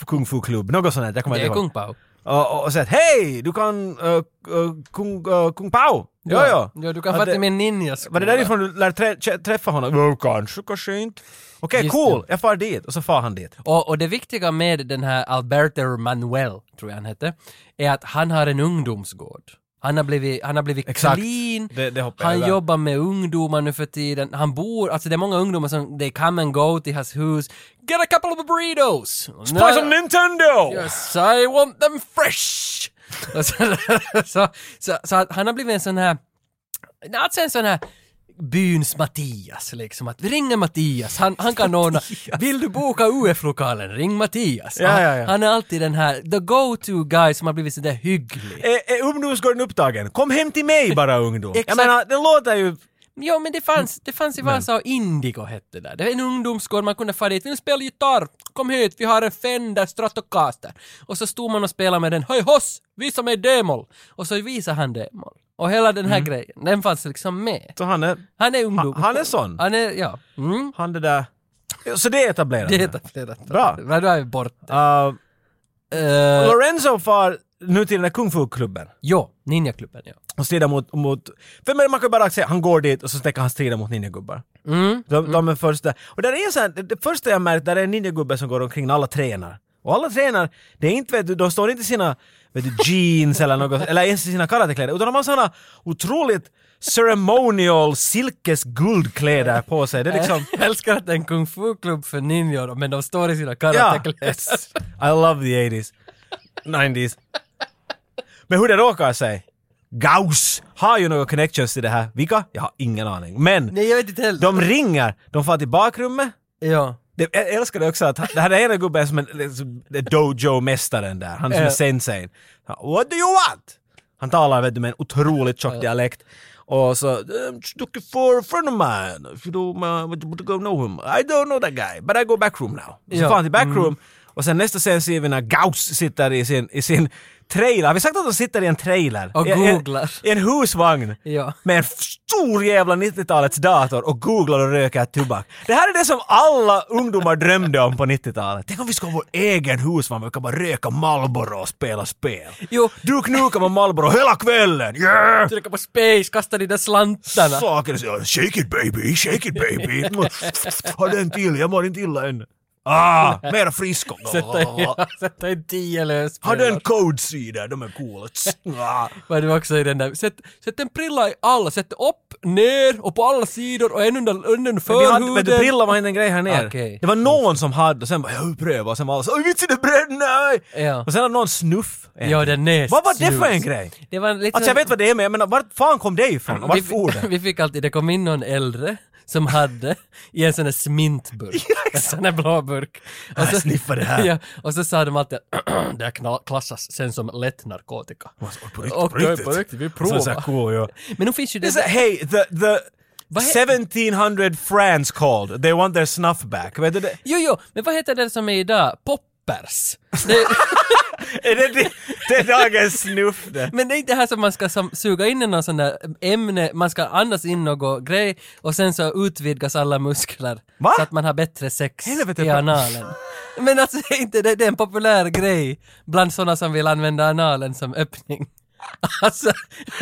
eh, kung fu klubb, något sånt där. Jag kommer
Det
inte
är
ihåg.
Kung Pao.
Och, och, och sagt hej, du kan eh, eh, kung, eh, kung pao. Ja, ja.
ja du kan
Ja,
fatta
det-
min ninjaskola.
Var det därifrån du lär trä, trä- träffa honom? "Ja, Kanske, kanske inte. Okej,
Just
cool. Jag far dit. Och så far han dit.
Och, och det viktiga med den här Alberto Manuel, tror jag han hette, är att han har en ungdomsgård. Han har blivit, han har blivit
Exakt.
clean,
Det- det hoppar jag
han
över.
jobbar med ungdomar nu för tiden, han bor, alltså det är många ungdomar som, they come and go till hans hus, get a couple of burritos!
Play some Nintendo!
Yes, I want them fresh! Och [laughs] så, så, så, så att han har blivit en sån här, alltså en sån här byns Mattias liksom. Att vi ringer Mattias, han, han kan ordna. Vill du boka UF-lokalen, ring Mattias.
Ja,
han,
ja, ja.
han är alltid den här, the go-to guy som har blivit sådär hygglig.
Är, är ungdomsgården upptagen? Kom hem till mig bara ungdom! jag
Exakt.
menar, det låter ju...
Jo men det
Mm.
fanns, det fanns i Vasa och Indigo hette det där. Det var en ungdomsgård, man kunde fara dit. Vill du spela gitarr? Kom hit, vi har en Fender Stratocaster. Och så stod man och spelade med den. Hej hoss! Visa mig D-moll! Och så visade han D-moll. Och hela den här grejen, den fanns liksom med.
Så han är...
Han är ungdom.
Mm. Han är sån.
Han är, ja. Mm.
Han det där... Så det är etablerat.
Det heter flera
Bra.
Men då är vi borta.
Uh,
Uh,
Lorenzo far nu till den där kung fu-klubben
jo, Ninjaklubben ja.
och strider mot... mot för men man kan ju bara säga, han går dit och så tänker han strida mot ninjagubbar.
Mm.
De, de är först där. Och där är en sån här, det, det första jag märkt, där är en ninjagubbe som går omkring och alla tränar. Och alla tränar, det är inte, vet du, de står inte i sina vet du, jeans eller något, eller ens i sina karatekläder, utan de har såna otroligt ceremonial silkesguldkläder på sig. Det är liksom...
Jag älskar att det är en kung fu-klubb för ninjor, men de står i sina karatekläder.
I love the 80s. 90s. Men hur det råkar sig? Gauss har ju några connections till det här. Vilka? Jag har ingen aning. Men
Nej, jag vet inte heller.
de ringer, de far till bakrummet.
Ja.
Det, jag älskar det också att han- den här ena gubben är som en liksom, det är dojo-mästaren där, han är som
Ja.
är sensein. Han, What do you want? Han talar vet du, med en otroligt tjock dialekt. Och så, "Eh, I'm just looking for a friend of mine. If you don't uh, want to go know him. I don't know that guy, but I go backroom now. Och Så
Ja. Mm.
far han till backroom. Och sen nästa scen ser vi när Gauss sitter i sin, i sin trailer. Har vi sagt att de sitter i en trailer?
Och
I, i, en-
googlar.
I en husvagn
Ja.
med en stor jävla 90-talets dator och googlar och röker tobak. Det här är det som alla ungdomar drömde om på 90-talet. Tänk om vi ska ha vår egen husvagn, vi kan bara röka Marlboro och spela spel.
Jo.
Du knukar med Marlboro hela kvällen! Yeah!
Trycka på space, kasta de där slantarna.
Saker så, shake it baby, shake it baby. Har den till, jag mår inte illa än. Ah, mera frisko.
Sätta i, [laughs] sätta i tio
Har
lösspelare.
den code-sida, de är coola. Ah.
Var det också i den där, sätt, sätt en prilla i alla, sätt upp, ner och på alla sidor och en under, under
Men vi hade,
förhuden.
vet du, brilla var inte en grej här nere.
Okej.
Det var någon som hade och sen bara jag pröva och sen var alla så oj vitsen det bränner!
Ja.
Och sen hade någon snuff.
Ja, den är
Vad var det för en
snus.
grej?
Det var lite
Alltså jag vet vad det är men jag menar vart fan kom det ifrån? Och vart
vi,
for
[laughs]
det?
vi fick alltid, det kom in någon äldre som hade i en sån där
[laughs]
smintburk. en sån där blå burk. Och
Här, sniffa det här.
[laughs] Ja, och så sa de alltid att [clears throat] det här kna- klassas sen som lätt narkotika.
På riktigt,
Och
på riktigt.
på riktigt, vi
Så det är så här
provar. [laughs]
cool, ja.
Men nu finns ju
Det är så
det...
här, Hej, the, the
Vad he-
1700 France called. They want their snuff back. Vet du det? [laughs]
Jo, jo, men vad heter det som är idag? Poppers. Det,
Är det, det, [laughs] det är dagens snuff det.
Men det är inte det här som man ska som, suga in i någon sån där ämne, man ska andas in något grej och sen så utvidgas alla muskler.
Va?
Så att man har bättre sex
Helvete,
i
pa-
analen. Men alltså det är inte det, det är en populär grej bland sådana som vill använda analen som öppning. [laughs] Alltså,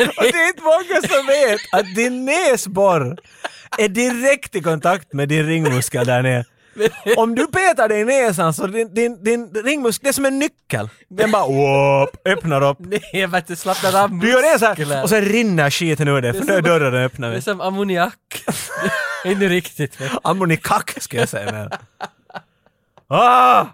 Och det är inte många som vet att din näsborr är direkt i kontakt med din ringmuskel där nere. Om du petar dig i näsan så din, din, din ringmuskel, det är som en nyckel. Den bara whoop, öppnar upp.
nej, jag vet inte, slappnar av
Du gör det så
muskler.
här, och sen rinner skiten ur dig för nu är dörren öppnad.
Det är som ammoniak. inte riktigt. men-
Ammonikack ska jag säga men. Ah!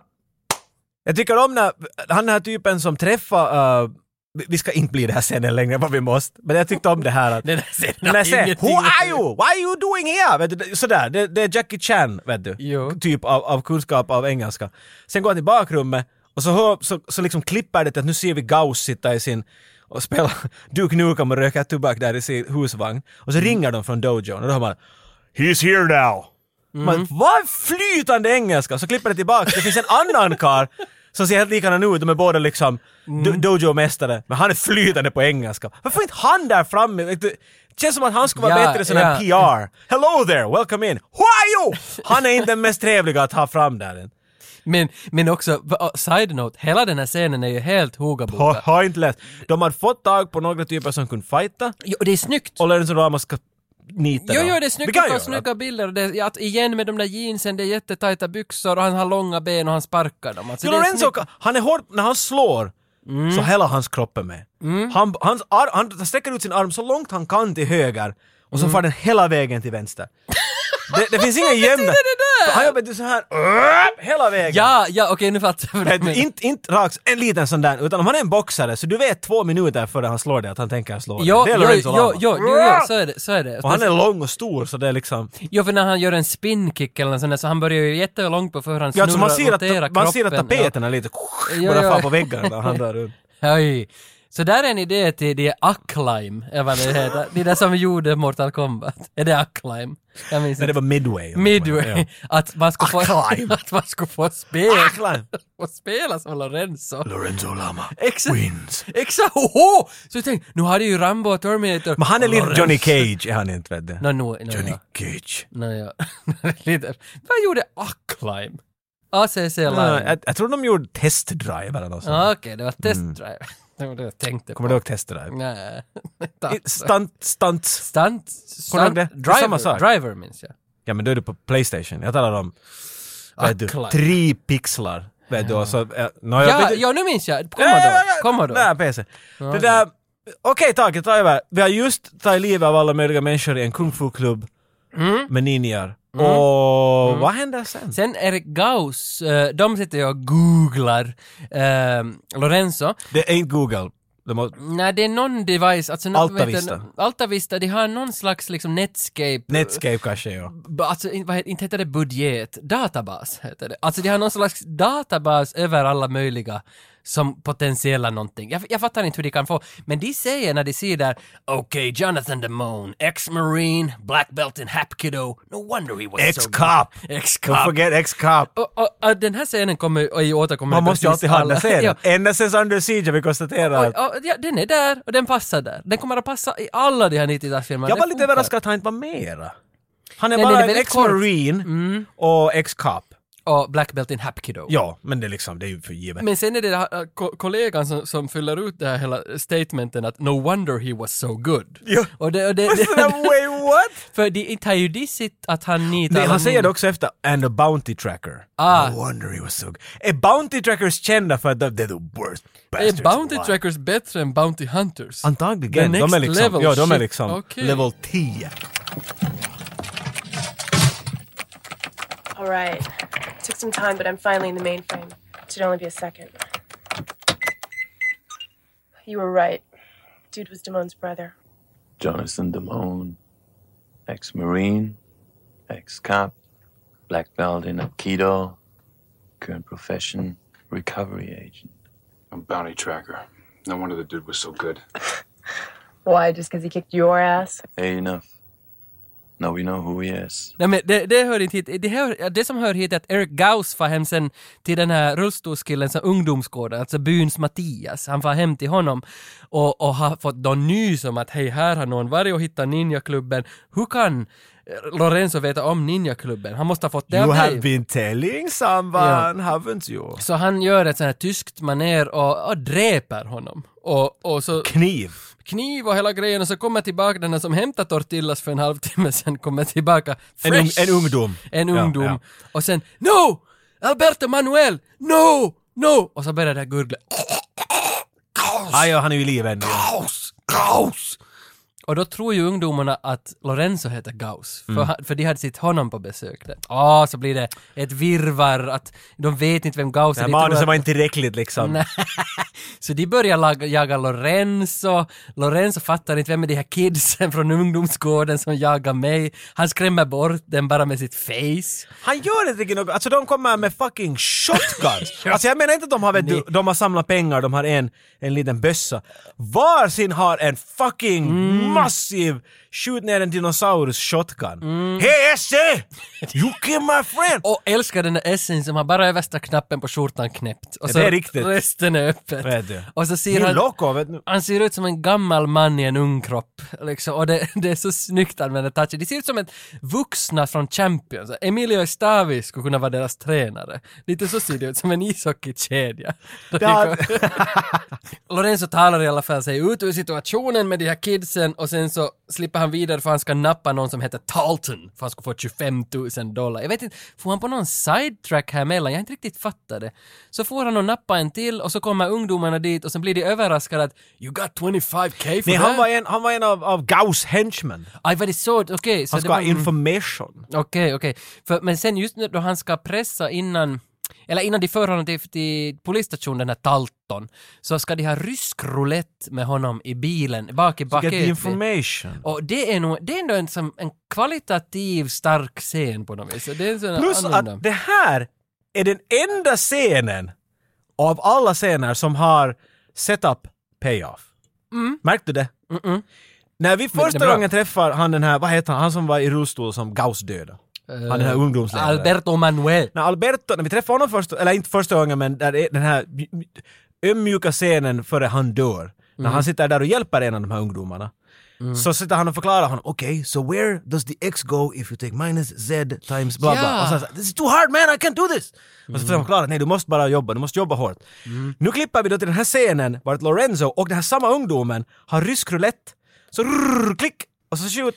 Jag tycker om när han den här typen som träffar eh, vi- vi ska inte bli det här scenen längre än vad vi måste, men jag tyckte om det här att...
Den där scenen har
Den här scenen,
ingenting
Who
att
are
göra.
you? Why are you doing here? Vet du, det- sådär, det, det är Jackie Chan, vet du.
Jo.
Typ av, av kunskap av engelska. Sen går han till bakrummet och så, hör, så, så liksom klipper det till att nu ser vi Gauss sitta i sin och spela [laughs] Duke Nukem och röka tobak där i sin husvagn. Och så ringer de från dojon och då hör man He's here now!
Mm.
Man, vad flytande engelska! Så klipper det tillbaka, det finns en annan kar som ser helt likadana ut, de är båda liksom
Mm.
do- dojo-mästare, men han är flytande på engelska. Varför är inte han där framme? Vet du, Känns som att han skulle vara
Ja,
bättre i sån här PR. Hello there, welcome in! Who are you? Han är inte den mest trevliga att ha fram där än.
Men, men också, va- ah, side note, hela den här scenen är ju helt
Har,
hogaboka.
har inte läst. De hade fått tag på några typer som kunde fighta
Jo, det är snyggt.
och Lorenzo Ramos ska nita
Jo,
dem.
jo, det är
Vi
snyggt
kan
att ta
göra
snygga bilder. och Det, är- att, igen med de där jeansen, det är jättetajta byxor och han har långa ben och han sparkar dem. Alltså,
Så
det Mm. är
Lorenzo,
snyggt.
han är hård, när han slår så hela hans kropp är med.
Mm.
Han, hans ar, han sträcker ut sin arm så långt han kan till höger och så
Mm.
far den hela vägen
[laughs]
till vänster. det, det finns ingen jämn... Han jobbar så här upp, hela vägen.
Ja, ja, okej nu fattar jag vad du
Men
menar.
inte, inte rakt, en liten sån där, utan om han är en boxare så du vet två minuter före han slår dig att han tänker slå dig.
Jo,
det är
jo,
Lorenzo
jo,
Lamas.
jo, jo, jo, så är det. Så är det.
Och han är lång och stor så det är liksom...
Jo, för när han gör en spin-kick eller något sånt där, så han börjar ju jättelångt på förhand
Ja, alltså man
snurra,
ser att,
rotera
man ser att
kroppen.
tapeten är lite...
Jo,
Börjar
jo.
fara på väggarna när han
[laughs]
drar runt.
Ja. Oj. Så där är en idé till det Acclaim, eller vad det heter. Det är det som gjorde Mortal Kombat. Är det Acclaim? Jag minns
Nej, det
inte.
var midway.
Midway.
Ja.
[laughs] Att man ska få... [laughs]
Acclaim.
Att man ska få spela.
Acclaim.
[laughs] Få spela som Lorenzo.
Lorenzo Lama
Exakt.
wins.
Exakt! Oho! Så jag tänkte, nu hade ju Rambo och Terminator...
Men han är lite
Lorenzo.
Johnny Cage, är han inte vet du?
Nå, no, no,
Johnny
no,
Cage.
no, ja. [laughs] lite. Vad gjorde Acclaim? ACC Line.
Ja, jag, jag tror de gjorde testdrive eller något sånt.
Ah, Okej, det var testdrive. [laughs] Det var det jag tänkte på.
Kommer du ihåg testdrive?
Nej. [laughs]
I- Stunt, stunts.
Stunt...
Kommer
Stunt...
du ihåg det? Det är
Driver,
samma sak.
driver minns jag.
Ja men då är du på Playstation. Jag talar om,
Ah,
vet du,
Acclaim.
tre pixlar. Vet du, och så... eh, nå, jag
Ja,
vet-
ja, nu minns jag.
Ja, ja,
Commodore.
ja, ja.
Commodore.
Nej, PC. Det där... Okej, tack, jag tar över. Vi har just tagit livet av alla möjliga människor i en kung fu-klubb med ninjar. Och vad händer sen?
Mm. Sen är det Gauss, eh, de sitter ju och googlar eh, Lorenzo.
Det är inte Google. De har
Nej, det är någon device, alltså något,
Alta
vad heter det? Alta Vista, de har någon slags liksom Netscape,
Netscape kanske, ja.
b- alltså in- vad heter, inte heter det budget, databas heter det. Alltså de har någon slags databas över alla möjliga som potentiella någonting. Jag, jag fattar inte hur de kan få, men de säger när de ser där, okej, Jonathan Damone, ex-marine, black belt in Hapkido, no wonder he was so good."
Ex-cop!
Ex-cop.
Don't forget ex-cop!
Och, och, och den här scenen kommer och är ju återkommande.
Man måste ju
precis
alltid ha den
alla-
där
Ja.
scenen. Ända sen Under Siege har vi konstaterat att
Och, och, ja, den är där och den passar där. Den kommer att passa i alla de här 90-talsfilmerna.
jag
Det
var lite
funkar.
överraskad att han inte var mera. Han är
Nej, den
bara
är
en
väldigt Mm.
ex-marine och ex-cop.
Och Black Belt in Hapkido.
Ja, men det är liksom, det är ju för
[laughs]
givet.
Men sen är det den här äh, ko- kollegan som, som fyller ut det här hela statementen att no wonder he was so good.
Ja.
Och det, och det,
[laughs] Sådär,
det
[laughs] Wait, what?
för det inte har ju dissigt att han nitar
Nej, han
honom.
säger det också efter “and a bounty tracker”.
Ah.
No wonder he was so good. Är bounty trackers kända för att de they're the worst bastards
Är Bounty
alive?
Trackers bättre än Bounty Hunters?
Antagligen.
The
De är
next
liksom,
level
ja, de är
shit.
liksom
Okej.
level 10.
All right. Took some time, but I'm finally in the mainframe. Should only be a second. You were right. Dude was Damone's brother.
Jonathan Damone, ex Marine, ex cop, black belt in Aikido, current profession, recovery agent.
I'm bounty tracker. No wonder the dude was so good.
Why? Just because he kicked your ass?
Hey, enough. Now we know who he is.
Nej men det, det hör inte hit. Det, hör, det som hör hit är att Eric Gauss far hem sen till den här rullstolskillen som ungdomsgården, alltså byns Mattias. Han far hem till honom och, och har fått någon nys om att hej här har någon varit och hittat ninjaklubben. Hur kan eh, Lorenzo veta om ninjaklubben? Han måste ha fått det
You
av
have
dig.
been telling someone, haven't you?
Så han gör ett sånt här tyskt maner och, och dräper honom. Och, och så...
Kniv.
Kniv och hela grejen och så kommer tillbaka den här som hämtar tortillas för en halvtimme sen kommer tillbaka
En
fresh.
ung- en ungdom.
En
Ja,
ungdom.
ja.
Och sen No! Alberto Manuel! No! No! Och så börjar det här gurgla.
Ah, ja, han är ju i livet ännu.
Gauss! Gauss! Och då tror ju ungdomarna att Lorenzo heter Gauss, för,
Mm.
han- för de hade sett honom på besök där. Ah, så blir det ett virvar att de vet inte vem Gauss
Det
är.
här
de tror
manuset
att-
var inte tillräckligt liksom.
Nej. Så de börjar laga, jaga Lorenzo. Lorenzo fattar inte vem är de här kidsen från ungdomsgården som jagar mig. Han skrämmer bort den bara med sitt face.
Han gör inte riktigt något, alltså de kommer med
[laughs]
fucking shotguns! alltså jag menar inte att de har, vet du, de har samlat pengar, de har en, en liten bössa. Varsin har en fucking
Mm.
massiv skjut ner en dinosaurus shotgun. Hey Esse! You kill my friend!
Mm. Och älskar den där Essen som har bara översta knappen på skjortan knäppt. Och
Ja,
så
det är riktigt.
resten är öppet.
Vet du.
Och så ser
Min
han...
loco, vet du.
Han ser ut som en gammal man i en ung kropp. Liksom. Och det, [laughs] det är så snyggt använda touchen. Det ser ut som ett vuxna från Champions. Emilio Estavi skulle kunna vara deras tränare. Lite så ser det ut, som en ishockeykedja. [laughs]
Ja.
Lorenzo talar i alla fall sig ut ur situationen med de här kidsen och sen så slipper han vidare för han ska nappa någon som heter Talton för han ska få 25 000 dollar. Jag vet inte, får han på någon sidetrack här mellan? Jag har inte riktigt fattat det. Så får han och nappa en till och så kommer ungdomarna dit och sen blir de överraskade att “You got 25k for
Nej,
that?”
han var en, han var en av, av Gauss henchmen.
Aj, var det så? Okej. så
Han
det
ska ha
var- mm.
information.
Okej, okej. För- Men sen just nu då han ska pressa innan, eller innan de för honom till, till polisstationen, den här Talton, så ska de ha rysk roulette med honom i bilen, bak i
To get the
baket.
information.
Och det är nog, det är ändå en, som, en kvalitativ stark scen på något vis. Så Det är en sån
Plus
annorlunda.
att det här är den enda scenen av alla scener som har setup payoff.
Mm.
Märkte du det?
Mm-mm.
När vi
det är
första
bra.
gången träffar han den här, vad heter han, han som var i rullstol som Gauss döda.
Eh,
han den här ungdomsledaren.
Alberto Manuel.
När Alberto, när vi träffar honom först, eller inte första gången men där är den här ömjuka scenen före han dör. När
Mm.
han sitter där och hjälper en av de här ungdomarna. Så sitter han och förklarar honom, okej, so where does the x go if you take minus z times blah blah?
Ja. Mm.
Och så han sa, this is too hard man, I can't do this! Och så får han förklara, nej du måste bara jobba, du måste jobba hårt. Nu klipper vi då till den här scenen vart Lorenzo och den här samma ungdomen har rysk roulette. Så rrrr, klick! Och så skjut,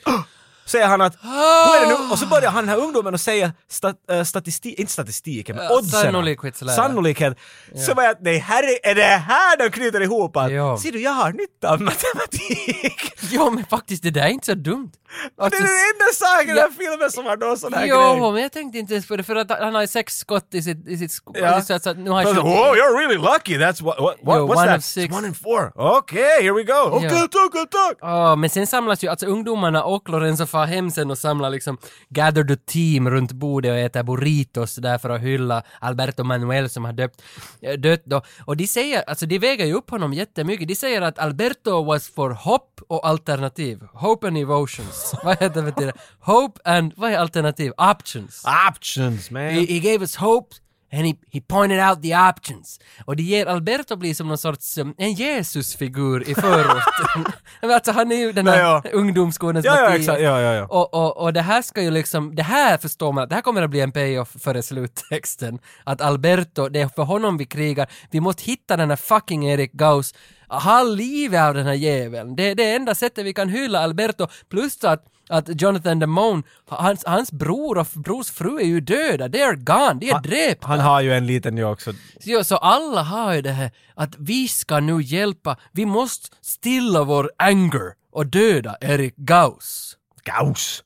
säger han att "Hur är det nu? Och så börjar han den här ungdomen och säga stat, statistik, inte statistiken men
Ja,
oddsen.
sannolikhetslära.
Sannolikhet. Så var jag, nej här är, är det här de knyter ihop att,
Ja.
ser du jag har nytta av matematik.
[laughs] Jo men faktiskt, det där är inte så dumt.
Det är den enda saken i
Ja.
den här filmen som har någon sån här grej.
Jo, men jag tänkte inte ens på det, för att han har ju sex skott i sitt... I sitt sko-
Ja.
så att, så att nu har han
Alltså,
skjutit-
Whoa, you're really lucky! That's what, what, what
Yo,
what's
one
that?
of six.
It's one in four. Okay, here we go! Okay,
Ja.
talk, talk, talk!
Ja, men sen samlas ju alltså ungdomarna och Lorenzo far hem sen och samlar liksom gather the team runt bordet och äter burritos där för att hylla Alberto Manuel som har döpt, eh, dött då. Och de säger, alltså de väger ju upp honom jättemycket. De säger att Alberto was for hopp och alternativ. Hope and emotions. vad heter det? betyder? Hope and, vad är alternativ? Options.
Options, man!
He, he gave us hope and he, he pointed out the options. Och det ger Alberto blir som någon sorts um, en
[laughs]
Jesusfigur i [laughs] förorten. Men alltså han är ju den här
Ja,
ungdomsgårdens
Ja, ja,
Mattias.
exakt. Ja, ja, ja.
Och, och, och det här ska ju liksom, det här förstår man att det här kommer att bli en payoff före sluttexten. Att Alberto, det är för honom vi krigar. Vi måste hitta den här fucking Erik Gauss. Ha livet av den här jäveln. Det är det enda sättet vi kan hylla Alberto. Plus att, att Jonathan Damone, hans, hans bror och brors fru är ju döda. De är gone, de är dräpta.
Han har ju en liten jag också.
Så, så alla har ju det här att vi ska nu hjälpa, vi måste stilla vår anger och döda Erik Gauss.
Gauss!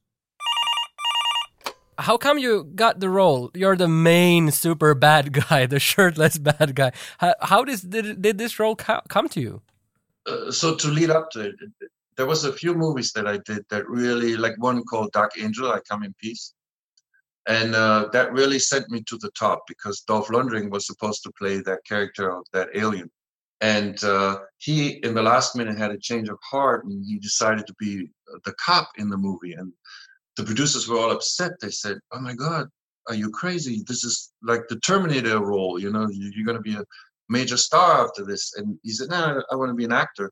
How come you got the role? You're the main super bad [laughs] guy, the shirtless bad guy. How, how does, did, did this role co- come to you?
Uh, so to lead up to it, there was a few movies that I did that really, like one called Dark Angel, I Come in Peace, and uh, that really sent me to the top because Dolph Lundgren was supposed to play that character of that alien, and uh, he, in the last minute, had a change of heart and he decided to be the cop in the movie, and the producers were all upset. They said, "Oh my God, are you crazy? This is like the Terminator role. You know, you, you're going to be a major star after this." And he said, "No, I want to be an actor."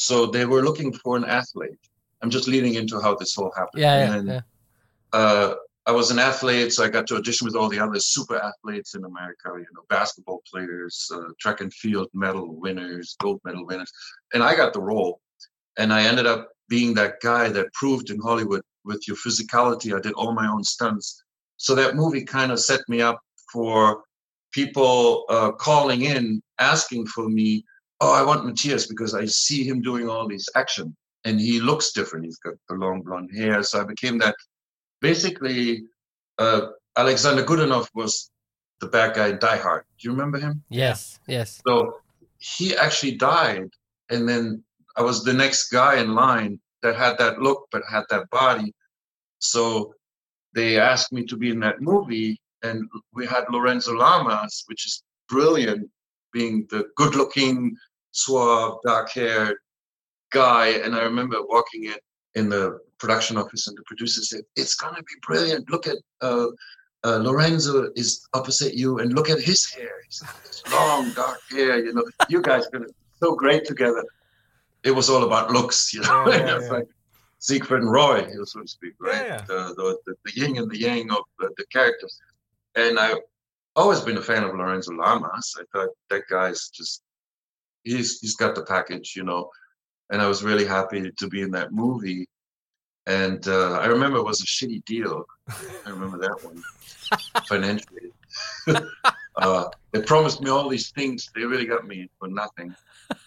So they were looking for an athlete. I'm just leading into how this all happened.
Yeah, yeah,
And then,
yeah.
uh, I was an athlete, so I got to audition with all the other super athletes in America. You know, basketball players, uh, track and field medal winners, gold medal winners, and I got the role. And I ended up being that guy that proved in Hollywood with your physicality. I did all my own stunts, so that movie kind of set me up for people uh, calling in asking for me. Oh, I want Matthias because I see him doing all these action, and he looks different. He's got the long blonde hair, so I became that basically uh, Alexander Goodenough was the bad guy in Die Hard. Do you remember him?
Yes, yes.
So he actually died, and then I was the next guy in line that had that look but had that body. So they asked me to be in that movie, and we had Lorenzo Lamas, which is brilliant, being the good looking, suave, dark haired guy. And I remember walking in in the production office, and the producer said, It's going to be brilliant. Look at uh, uh, Lorenzo is opposite you, and look at his hair. He's got this long, dark hair. You know, you guys are going to be so great together. It was all about looks, you know.
Yeah, yeah,
[laughs] It's
yeah.
like Siegfried and Roy, you know, so to speak, right? The, the, the, the yin and the yang of the, the characters. And I've always been a fan of Lorenzo Lamas. I thought that guy's just, he's he's got the package, you know. And I was really happy to be in that movie. And uh, I remember it was a shitty deal. I remember that one financially. [laughs] uh, they promised me all these things. They really got me for nothing.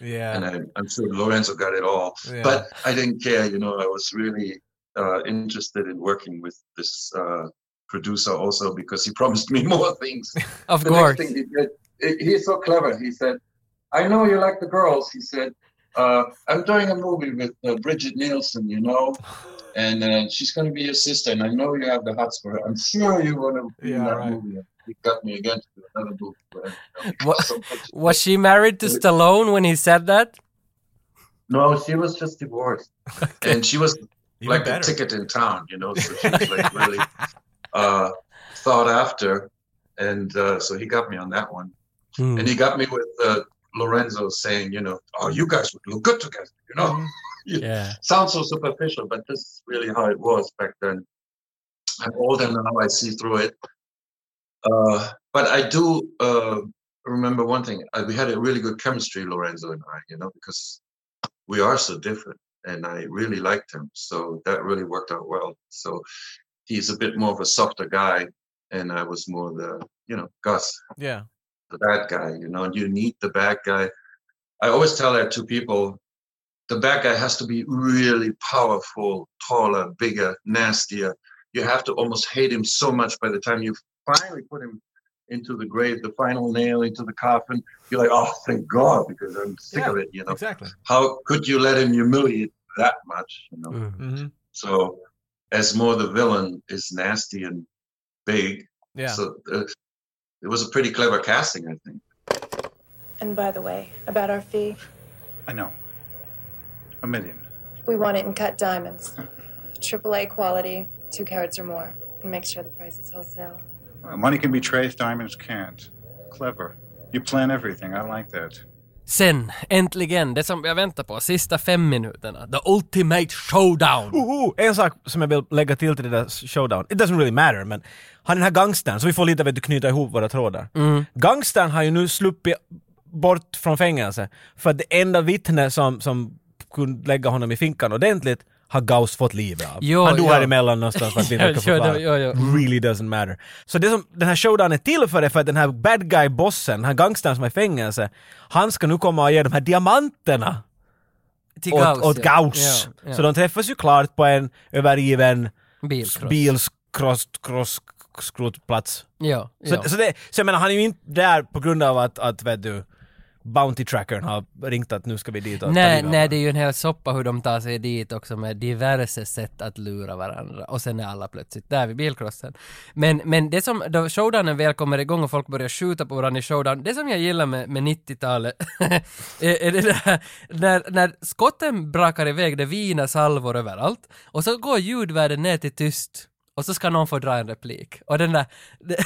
Yeah.
And I, I'm sure Lorenzo got it all.
Yeah.
But I didn't care. You know, I was really uh, interested in working with this uh, producer also because he [laughs] promised me more things.
Of
The
course.
next thing he did, he- he's so clever. He said, I know you like the girls. He said, uh, I'm doing a movie with uh, Bridget Nielsen, you
[sighs]
know, and uh, she's going to be your sister. And I know you have the hearts for her. I'm sure you want to be in
Yeah,
that
right.
movie. He got me again to do another movie. where-
[laughs] What, was she married
[laughs]
to Stallone when he said that?
No, she was just
[laughs]
divorced. And she was like
better.
the ticket in town, you know, so she was like really uh, sought after. And uh, so he got me on that one.
Hmm.
And he got me with uh, Lorenzo saying, you know, oh, you guys would look good together, you know. [laughs]
Yeah.
Sounds so superficial, but this is really how it was back then. I'm older now, I see through it. Uh, but I do uh, remember one thing. Uh, we had a really good chemistry, Lorenzo and I, you know, because we are so different. And I really liked him. So that really worked out well. So he's a bit more of a softer guy. And I was more the, you know, Gus
Yeah.
the bad guy. You know, you need the bad guy. I always tell that to people. The bad guy has to be really powerful, taller, bigger, nastier. You have to almost hate him so much by the time you finally put him into the grave, the final nail into the coffin. You're like, oh, thank God, because I'm sick of it. You know,
Exactly.
how could you let him humiliate that much? You know.
Mm. hmm.
Mm-hmm.
So, as more the villain is nasty and big.
Yeah.
So uh, it was a pretty clever casting, I think.
And by the way, about our fee,
I know. A million.
we want it in cut diamonds. AAA quality, two carats or more. And make sure the price is wholesale.
Well, money can be traced, diamonds can't. Clever. You plan everything. I like that.
Sen, äntligen, det som jag väntar på, sista fem minuterna. The Ultimate Showdown!
Uhu, en sak som jag vill lägga till till det där showdown, it doesn't really matter men han den här gangstern, så vi får lite vet du, knyta ihop våra trådar.
Mm.
Gangstern har ju nu sluppit bort från fängelse för att det enda vittne som, som kunde lägga honom i finkan ordentligt har Gauss fått livet av.
Jo,
han dog
jo.
här emellan någonstans
[laughs]
för att vi
Jo,
inte kan
jo,
förklara.
jo, jo.
Really doesn't matter. Så det som den här showdown är till för är för att den här bad guy-bossen, den här gangstern som är i fängelse, han ska nu komma och ge de här diamanterna
Till
åt,
Gauss,
åt
ja.
Gauss.
Ja, ja.
Så de träffas ju klart på en övergiven
Bilkross.
bilskrotplats.
Ja,
så,
ja.
Så, det, så jag menar, han är ju inte där på grund av att, att vet du, Bounty Trackern har ringt att nu ska vi dit och
Nej,
ta
nej, det är ju en hel soppa hur de tar sig dit också med diverse sätt att lura varandra. Och sen är alla plötsligt där vid bilcrossen. Men, men det som, då showdownen väl kommer igång och folk börjar skjuta på varandra i showdown, det som jag gillar med, med 90-talet [laughs] är, är det där, när, när skotten brakar iväg, det viner salvor överallt, och så går ljudvärden ner till tyst, och så ska någon få dra en replik. Och den där,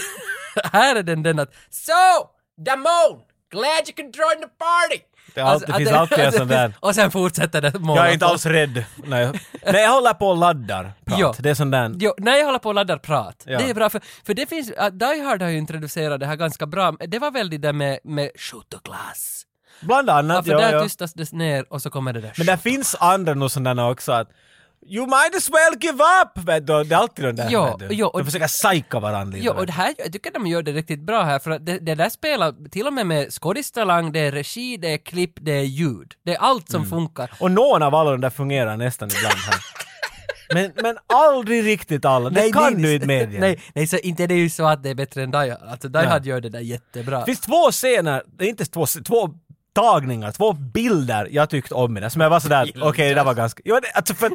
[laughs] här är den den att So! Damon! Glad you can join the party!
Det, är alltid,
Alltså,
finns
att
alltid en sån där.
Och sen fortsätter det målet.
Jag är inte alls rädd. Nej, nej jag håller på och laddar. Prat.
Jo.
Det är sån där.
Jo, när jag håller på och laddar prat.
Ja.
Det är bra för, för det finns, uh, Die Hard har ju introducerat det här ganska bra. Det var väl det där med, med shoot och glass.
Bland annat,
Ja, för
ja,
där
ja.
tystas det ner och så kommer det där.
Men det finns andra nog sådana också att You might as well give up! Vet du, det är alltid de där.
Jo,
vet du.
jo, och-
de försöker psyka varandra lite.
Jo, och det här, jag tycker de gör det riktigt bra här, för att det, det där spelar till och med med skådistalang, det är regi, det är klipp, det är ljud. Det är allt
Mm.
som funkar.
Och någon av alla de där fungerar nästan ibland här. men, men aldrig riktigt alla. Det kan du inte medge.
Nej, nej, så inte det är ju så att det är bättre än Die Hard. Alltså Die
Nej.
Hard gör det där jättebra.
Det finns två scener, det är inte två, sc- två tagningar, två bilder jag tyckte om i det. Som jag var sådär, okej det där var ganska... Jo, det, alltså för,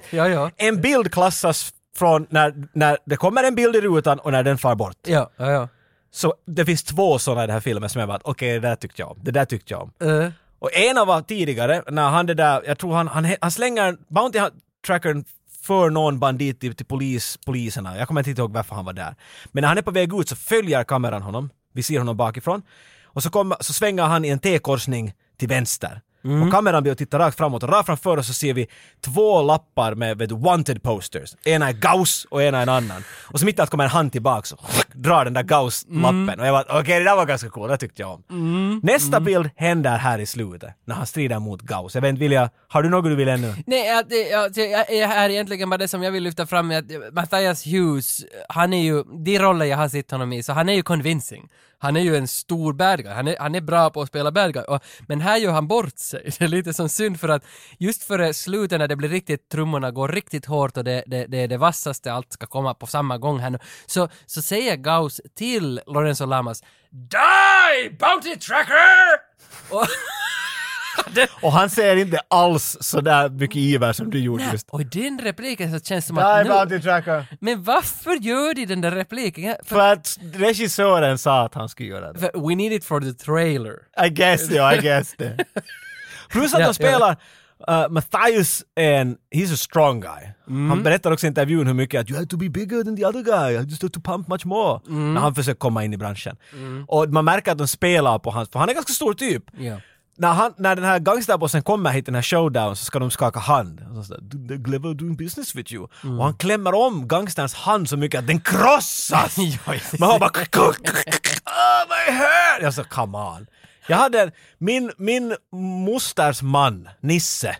att En bild klassas från när, när det kommer en bild i rutan och när den far bort.
Ja, ja, ja.
Så det finns två sådana i den här filmen som jag bara, okej det där tyckte jag om, det där tyckte jag om.
Eh.
Och en av var tidigare, när han det där, jag tror han, han, han slänger Bounty Trackern för någon bandit till, till polis, poliserna. Jag kommer inte ihåg varför han var där. Men när han är på väg ut så följer kameran honom. Vi ser honom bakifrån. Och så, kommer, så svänger han i en T-korsning till vänster. Och kameran blir och tittar rakt framåt och rakt framför oss så ser vi två lappar med vet, du, wanted posters. Ena är Gauss och ena är en annan. Och så mitt i allt kommer en hand tillbaka och [laughs] drar den där Gauss-lappen. Och jag bara okej det där var ganska coolt, det tyckte jag om. Nästa bild händer här i slutet, när han strider mot Gauss. Jag vet inte, Vilja, har du något du vill ännu?
Nej, ja, det, ja, det är här egentligen bara det som jag vill lyfta fram är att Matthias Hughes, han är ju, de roller jag har sett honom i, så han är ju convincing. Han är ju en stor bad guy. Han är, han är bra på att spela bad guy. Och, men här gör han bort sig. [laughs] Det är lite som synd för att just före slutet när det blir riktigt, trummorna går riktigt hårt och det, det, det är det vassaste, allt ska komma på samma gång här nu. Så, så säger Gauss till Lorenzo Lamas Die Bounty Tracker! Och, [laughs]
Och han säger inte alls sådär mycket iver som du gjorde just.
och i den repliken så känns det som att
Die
nu,
Bounty Tracker!
Men varför gör de den där repliken? Ja, För,
För att regissören sa att han skulle göra det.
för, we need it for the trailer.
I guess, ja, I guess det. [laughs] Plus att
Ja,
de spelar, uh, Matthias är en, he's a strong guy. Han berättar också i intervjun hur mycket att you have to be bigger than the other guy, you just have to pump much more. När han försöker komma in i branschen. Och man märker att de spelar på hans, för han är ganska stor typ.
Ja.
När, han, när den här gangsterbossen kommer hit, den här showdown, så ska de skaka hand. Och så sådär, "Do- they're clever doing business with you.
Mm.
Och han klämmer om gangsterns hand så mycket att
[laughs]
den krossas! Man hör bara Oh my head! Jag sa come on. Jag hade en, min, min mosters man,
[laughs]
Nisse,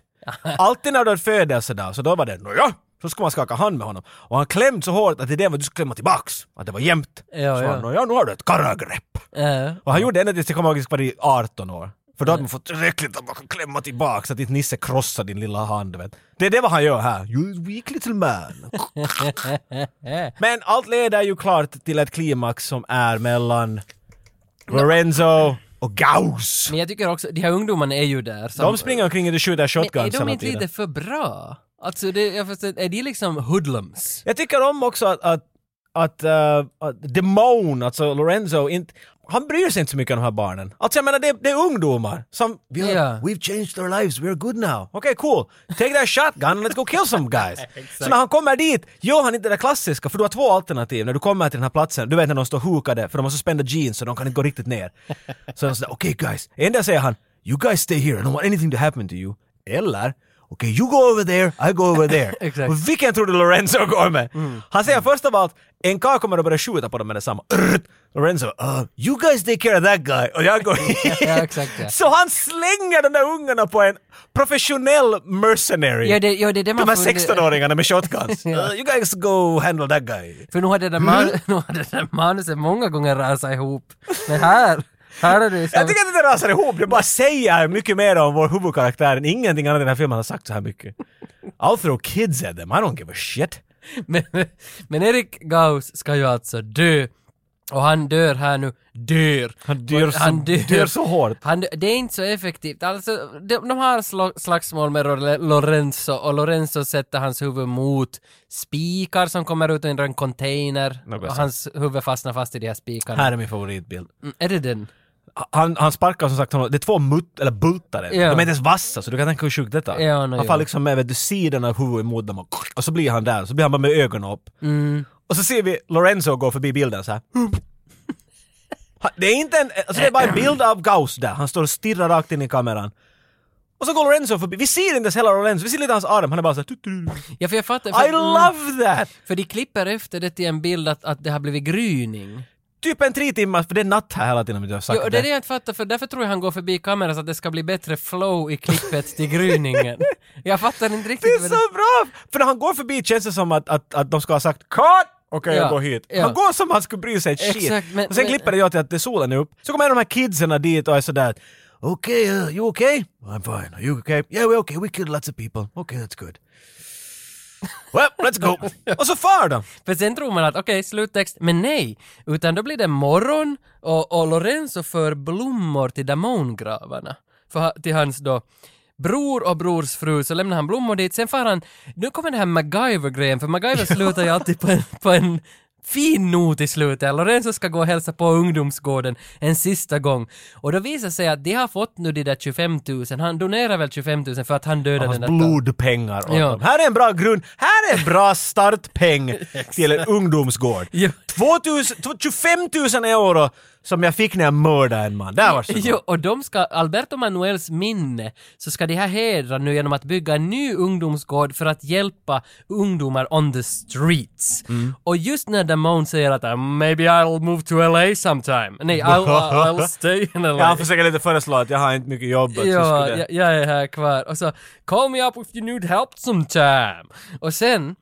alltid när du hade födelsedag så då var det nåja, så ska man skaka hand med honom. Och han klämde så hårt att idén var att du skulle klämma tillbaks, att det var jämnt.
Ja,
så
ja.
han, nåja nu har du ett karagrepp.
Eh,
Och han gjorde det ända tills jag kommer ihåg att jag var i 18 år. För då hade man fått tillräckligt att man kan klämma tillbaks så att inte Nisse krossar din lilla hand. Vet. Det är det vad han gör här. You're a weak
[laughs]
little man.
eh.
Men allt leder ju klart till ett klimax som är mellan Lorenzo och Gauss.
Men jag tycker också, de här ungdomarna är ju där. som-
De springer omkring och skjuter
Men är
shotguns
de
hela
inte
tiden.
lite för bra? Alltså, det, jag förstår, är de liksom hoodlums?
Jag tycker om också att, att, att, eh, att Demone, alltså Lorenzo, inte, han bryr sig inte så mycket om de här barnen. Alltså jag menar det, det är ungdomar som vi har,
Ja.
“We've changed our lives, we're good now”. Okej, cool. Take that shotgun and let's go kill
[laughs]
some guys. så när han kommer dit gör han inte det där klassiska, för du har två alternativ när du kommer till den här platsen. Du vet när de står hukade, för de har så spända jeans så de kan inte gå
[laughs]
riktigt ner. så de säger “Okej guys”. Endera säger han “You guys stay here, I don't want anything to happen to you”. Eller “Okej, you go over there, I go over there”.
[laughs] Exakt. Mm.
Och vilken tror du Lorenzo [laughs] går med? Han säger först av allt, en karl kommer att börja skjuta på dem med detsamma. Rrrt. Lorenzo, "Uh, you guys take care of that guy. Och jag går
[laughs] Ja, exakt, ja.
Så han slänger de där ungarna på en professionell mercenary.
Ja, det, ja, det är det man
de här
får under-
16-åringarna
[laughs]
med shotguns. "Uh, you guys go handle that guy.
För nu har det där, man, [laughs] nu har det där manuset många gånger rasat ihop. Men här, här är det som...
Jag tycker att det rasar ihop, det bara säger mycket mer om vår huvudkaraktär än ingenting annat i den här filmen har sagt så här mycket. I'll throw kids at them, I don't give a shit.
Men, men Erik Gauss ska ju alltså dö. Och han dör här nu. Dör!
Han dör så- dör så hårt.
Han, dö- det är inte så effektivt. Alltså, de, de har sl- slagsmål med Role- Lorenzo och Lorenzo sätter hans huvud mot spikar som kommer ut ur en container.
Något
och
sånt.
hans huvud fastnar fast i de här spikarna.
Här är min favoritbild.
Mm, är det den?
Han, han sparkar som sagt honom, det är två mut, eller bultar.
Ja.
De är inte ens vassa, så du kan tänka hur sjukt detta är.
Ja, nej,
han
ja.
faller liksom med vet du, sidan av huvudet mot dem och, och så blir han där, så blir han bara med ögonen upp.
Mm.
Och så ser vi Lorenzo gå förbi
[laughs]
bilden så här. Han- Det är inte en, alltså det är bara en bild av Gauss där, han står och stirrar rakt in i kameran. Och så går Lorenzo förbi, vi ser inte ens hela Lorenzo, vi ser lite hans arm, han är bara så här, tut, tut, tut.
Ja, för jag fattar.
I love that!
För de klipper efter det till en bild att, att det har blivit gryning.
Typ en tre timmar, för det är natt här hela tiden om jag har sagt
Jo, och det är det jag inte fattar, för därför tror jag han går förbi kameran så att det ska bli bättre flow i klippet till gryningen.
[laughs]
Jag fattar inte riktigt.
Det är
vad
så bra! För när han går förbi känns det som att, att, att de ska ha sagt cut! Okej,
Ja,
jag går hit.
ja.
Han går som han skulle bry sig ett shit.
Exakt, men-
och sen
men-
klipper jag till att det är solen är upp. Så kommer en av de här kidsen dit och är sådär Okej, okay, uh, you okay? I'm fine. Are you okay? Yeah, we're okay. We killed lots of people. Okay, that's good. [laughs] Well, let's
[laughs]
go! och så far de!
För sen tror man att okej, sluttext, men nej! Utan då blir det morgon och, och Lorenzo för blommor till damongravarna. För, ha- till hans då bror och brors fru, så lämnar han blommor dit. Sen far han, nu kommer den här MacGyver-grejen, för MacGyver slutar ju alltid på en, på en fin not i slutet. Lorenzo ska gå och hälsa på ungdomsgården en sista gång. Och då visar sig att de har fått nu de där 25 000, han donerar väl 25 000 för att han dödade
Hans
den där
blodpengar åt
Ja.
dem. Här är en bra grund, här är
[laughs]
en bra startpeng till en ungdomsgård. 2000, 25 000 euro som jag fick när jag mördade en man. Där varsågod.
[laughs] Jo, och de ska, Alberto Manuels minne, så ska de här hedra nu genom att bygga en ny ungdomsgård för att hjälpa ungdomar on the streets.
Mm.
Och just när Damon säger att "Ah, “Maybe I'll move to LA sometime”, nej,
[laughs]
I'll, I'll stay in
Ja,
LA.
han försöker lite föreslå att jag har inte mycket jobb. att
[laughs]
så
Ja,
skulle-
jag, jag är här kvar. Och så “Call me up if you need help sometime”. Och sen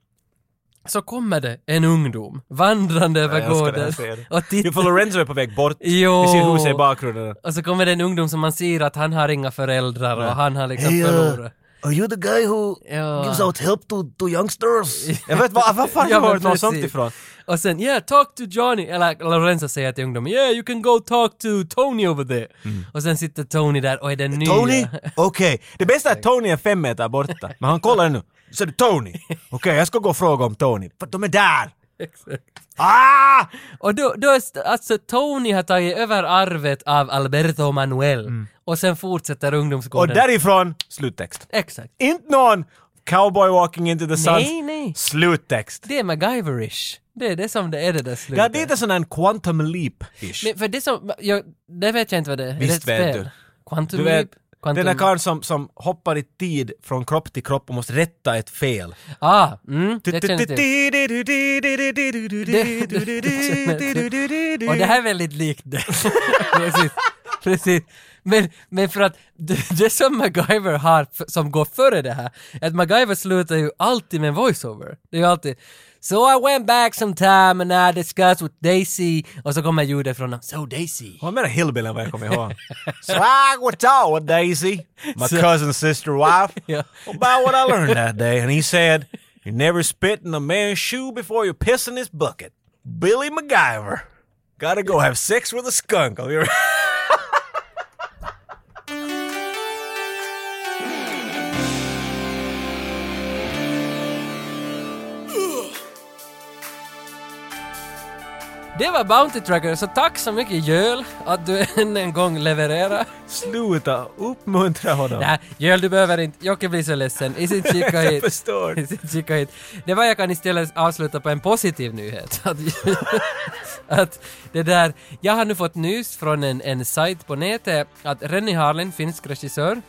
så kommer det en ungdom vandrande
Jag
över
älskar det,
gården
jag ser det.
och
Jo, för
tittar
Lorenzo är på väg bort.
Jo.
Vi ser huset i bakgrunden.
och så kommer det en ungdom som man ser att han har inga föräldrar och han har liksom
Hey, uh,
förlorat.
Are you the guy who
Ja.
help to, to youngsters? jag vet, vad vad fan har jag
men
hört något
precis.
sånt ifrån?
Och sen, yeah, talk to Johnny, eller Lorenzo säger till ungdomen, yeah, you can go talk to Tony over there. Och sen sitter Tony där och är den nya.
Mm. Tony? Okej. Det bästa är att Tony är fem meter borta. Men han kollar nu. Så är det Tony? Okej, jag ska gå och fråga om Tony. För de är där!
Exakt.
Ah!
Och då, då är st- alltså Tony har tagit över arvet av Alberto Manuel. Och sen fortsätter
Mm. Och
ungdomsgården.
därifrån, sluttext.
Exakt.
Inte någon cowboy walking into the sun.
Nej, nej.
Sluttext.
Det är MacGyverish. Det är det som det är det där slutet.
Ja, det är lite sån här quantum leap-ish.
Men för det som, jag, det vet jag inte vad det är. är.
Visst
det ett
vet
spel?
du.
Quantum
Du vet,
Leap? Quantum...
den där karln som, som hoppar i tid från kropp till kropp och måste rätta ett fel.
Ah, mm, det känner jag till. Och det här är väldigt likt det. [laughs] precis. precis. Men, men för att det, det som MacGyver har f- som går före det här, är att MacGyver slutar ju alltid med en voiceover. Det är ju alltid So I went back sometime and I discussed with Daisy och så kommer ljudet från honom. So Daisy.
Hon är mer hillbilly än vad jag kommer ihåg. Swag what's up with Daisy, my cousin's sister wife,
[laughs] Ja.
about what I learned that day. And he said, you never spit in a man's shoe before you piss in his bucket. Billy MacGyver. Gotta go have sex with a skunk. I'll be right-
Det var Bounty Tracker, så tack så mycket Jöl att du [laughs] än en gång levererar.
Sluta uppmuntra honom.
Nej, Jöl du behöver inte, Jocke blir så ledsen. I sin kika
Jag
hit.
förstår.
I sin kika hit. Det var jag kan istället avsluta på en positiv [laughs] nyhet. Att, att det där, jag har nu fått nys från en, en sajt på nätet att Rennie Harlin, finsk regissör,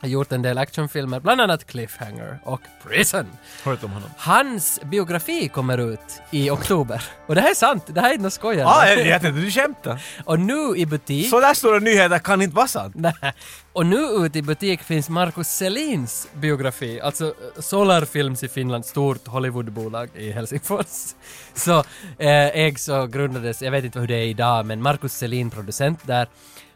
har gjort en del actionfilmer, bland annat Cliffhanger och Prison.
Hört om honom.
Hans biografi kommer ut i oktober. Och det här är sant, det här är inte något skoj.
Ah, jag jag tänkte du skämtade.
Och nu i butik...
Så där stora nyheter kan inte
[laughs]
vara sant.
Nej. Och nu ute i butik finns Markus Selins biografi, alltså eh, Solar Films i Finland, stort Hollywoodbolag i Helsingfors. [laughs] Så eh, ägs och grundades, jag vet inte hur det är idag, men Markus Selin producent där.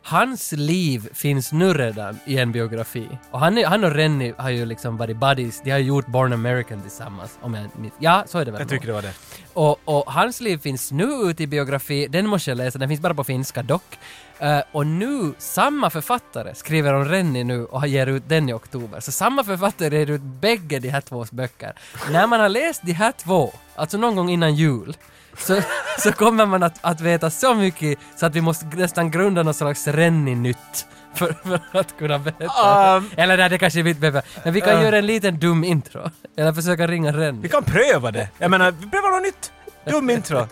Hans liv finns nu redan i en biografi. Och han, är, han och Rennie har ju liksom varit buddies, de har ju gjort Born American tillsammans. Om jag minns. Ja, så är det väl
Jag
nog.
tycker det var det.
Och, och hans liv finns nu ute i biografi, den måste jag läsa, den finns bara på finska dock. Eh, och nu, samma författare skriver om Rennie nu och ger ut den i oktober. Så samma författare ger ut bägge de här tvås böcker. När man har läst de här två, alltså någon gång innan jul, så, [laughs] så kommer man att, att veta så mycket så att vi måste nästan grunda någon slags Rennie-nytt för, [laughs] för att kunna veta.
Um.
Eller nej, det kanske vi inte behöver. Men vi kan
Uh.
göra en liten dum intro. Eller försöka ringa Rennie.
Vi kan pröva det. Jag menar, vi prövar något nytt. Dum intro.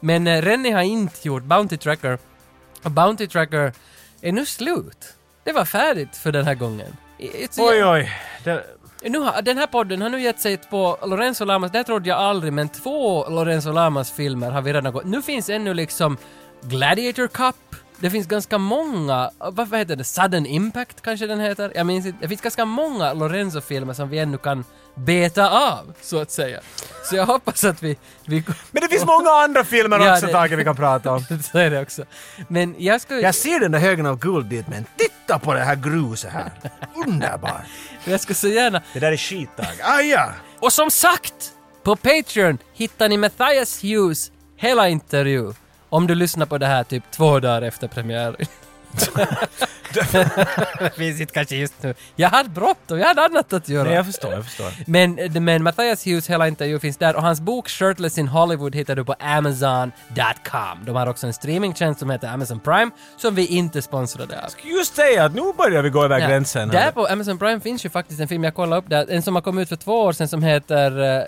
Men eh, Rennie har inte gjort Bounty Tracker. Och Bounty Tracker är nu slut. Det var färdigt för den här gången. I- it's-
Oj, oj. Det,
Nu har, den här podden har nu gett sig på Lorenzo Lamas, det här trodde jag aldrig, men två Lorenzo Lamas-filmer har vi redan gått. Nu finns ännu liksom Gladiator Cup, det finns ganska många, eh, vad vad heter det, Sudden Impact kanske den heter? Jag minns inte. Det finns ganska många Lorenzo-filmer som vi ännu kan beta av, så att säga. Så jag hoppas att vi... vi
men det finns många andra filmer
Ja,
också,
det-
Tage, vi kan prata om.
[laughs] så är det också. Men jag ska...
Jag ser den där högen av guld dit, men titta på det här gruset här. Underbart.
Jag skulle så gärna...
Det där är skit, Tage. Ah, Aja!
Och som sagt, på Patreon hittar ni Matthias Hughes hela intervju. Om du lyssnar på det här typ två dagar efter premiären. [laughs] det finns inte kanske just nu. Jag hade bråttom, jag hade annat att göra.
Nej, jag förstår, jag förstår.
Men, men Matthias Hughes hela intervju finns där och hans bok Shirtless in Hollywood hittar du på Amazon.com. De har också en streamingtjänst som heter Amazon Prime som vi inte är sponsrade av.
Just säga att nu börjar vi gå över
Ja.
gränsen.
Där på Amazon Prime finns ju faktiskt en film, jag kollade upp där, en som har kommit ut för två år sedan som heter, eh,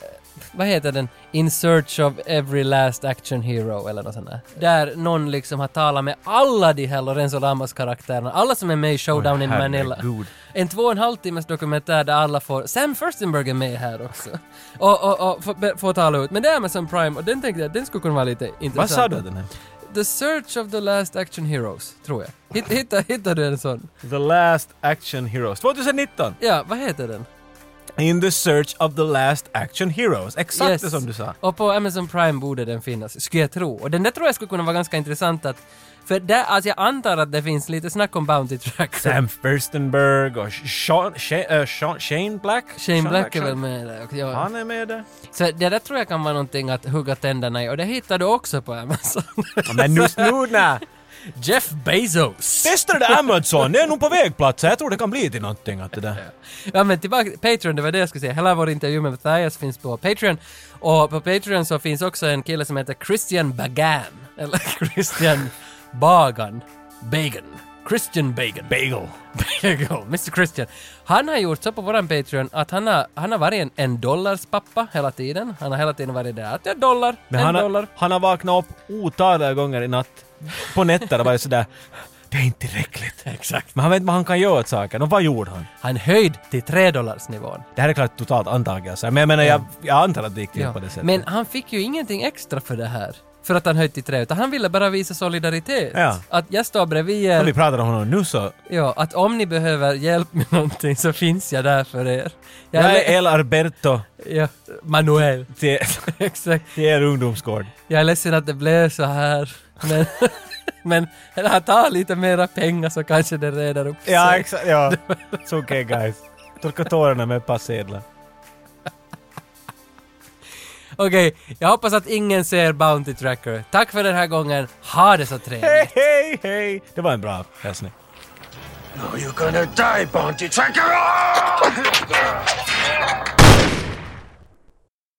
vad heter den? In Search of Every Last Action Hero eller något sånt där. Där någon liksom har talat med alla de här Lorenzo Lamas-karaktärerna, alla som är med i Showdown
Oj,
in Manila.
herregud.
En två och en halv timmes dokumentär där alla får, Sam Furstenberg är med här också. Och, och, och får, får tala ut. Men det är Amazon Prime och den tänkte jag, den skulle kunna vara lite intressant.
Vad sa du den här?
The Search of the Last Action Heroes, tror jag. Hitt, hitta, hittar du en sån?
The Last Action Heroes 2019.
Ja, vad heter den?
In the search of the last action heroes. Exakt
Yes.
det som du sa.
Och på Amazon Prime borde den finnas, skulle jag tro. Och den där tror jag skulle kunna vara ganska intressant att... För där, alltså jag antar att det finns lite snack om Bounty Tracker.
Sam Furstenberg och Sean, Shane, eh, Sean, Shane Black?
Shane Black är väl med där också, ja.
Han är med där.
Så det där tror jag kan vara någonting att hugga tänderna i och det hittar du också på
[laughs]
Amazon.
Men nu [laughs] snurna!
Jeff Bezos!
Testa det där Amazon, det är nog på vägplats. Jag tror det kan bli till någonting att det där.
Ja men tillbaka till Patreon, det var det jag skulle säga. Hela vår intervju med Matthias finns på Patreon. Och på Patreon så finns också en kille som heter Christian Bagan. Eller [laughs] Christian Bagan. Bagan. Christian Bagan.
Bagel.
Bagel. [laughs] Mr Christian. Han har gjort så på våran Patreon att han har, han har varit en, en dollars pappa hela tiden. Han har hela tiden varit där att jag dollar,
Men
en
han,
dollar.
har, han har vaknat upp otaliga gånger i natt. På nätter och varit sådär det är inte tillräckligt. Exakt. Men han vet inte vad han kan göra åt saken. Och vad gjorde han?
Han höjd till 3 dollars nivån.
Det här är klart totalt antagelse. Men jag menar, jag, jag antar att det gick till på det sättet.
Men han fick ju ingenting extra för det här. För att han höjt till trä, utan han ville bara visa solidaritet.
Ja.
Att jag står bredvid er.
Om vi pratar om honom nu så...
Ja, att om ni behöver hjälp med någonting så finns jag där för er.
Jag
le-
är El Alberto
ja, Manuel. [laughs]
till,
Exakt.
till er ungdomsgård.
Jag är ledsen att det blev så här. Men, [laughs] men eller han tar lite mera pengar så kanske det reder upp
Ja,
sig.
exakt. Ja. It's okay guys. Torka tårarna med ett par sedlar.
Okej, jag hoppas att ingen ser Bounty Tracker. Tack för den här gången. Ha det så trevligt.
Hej, hej, hej! Det var en bra hälsning.
No, you're gonna die, Bounty Tracker!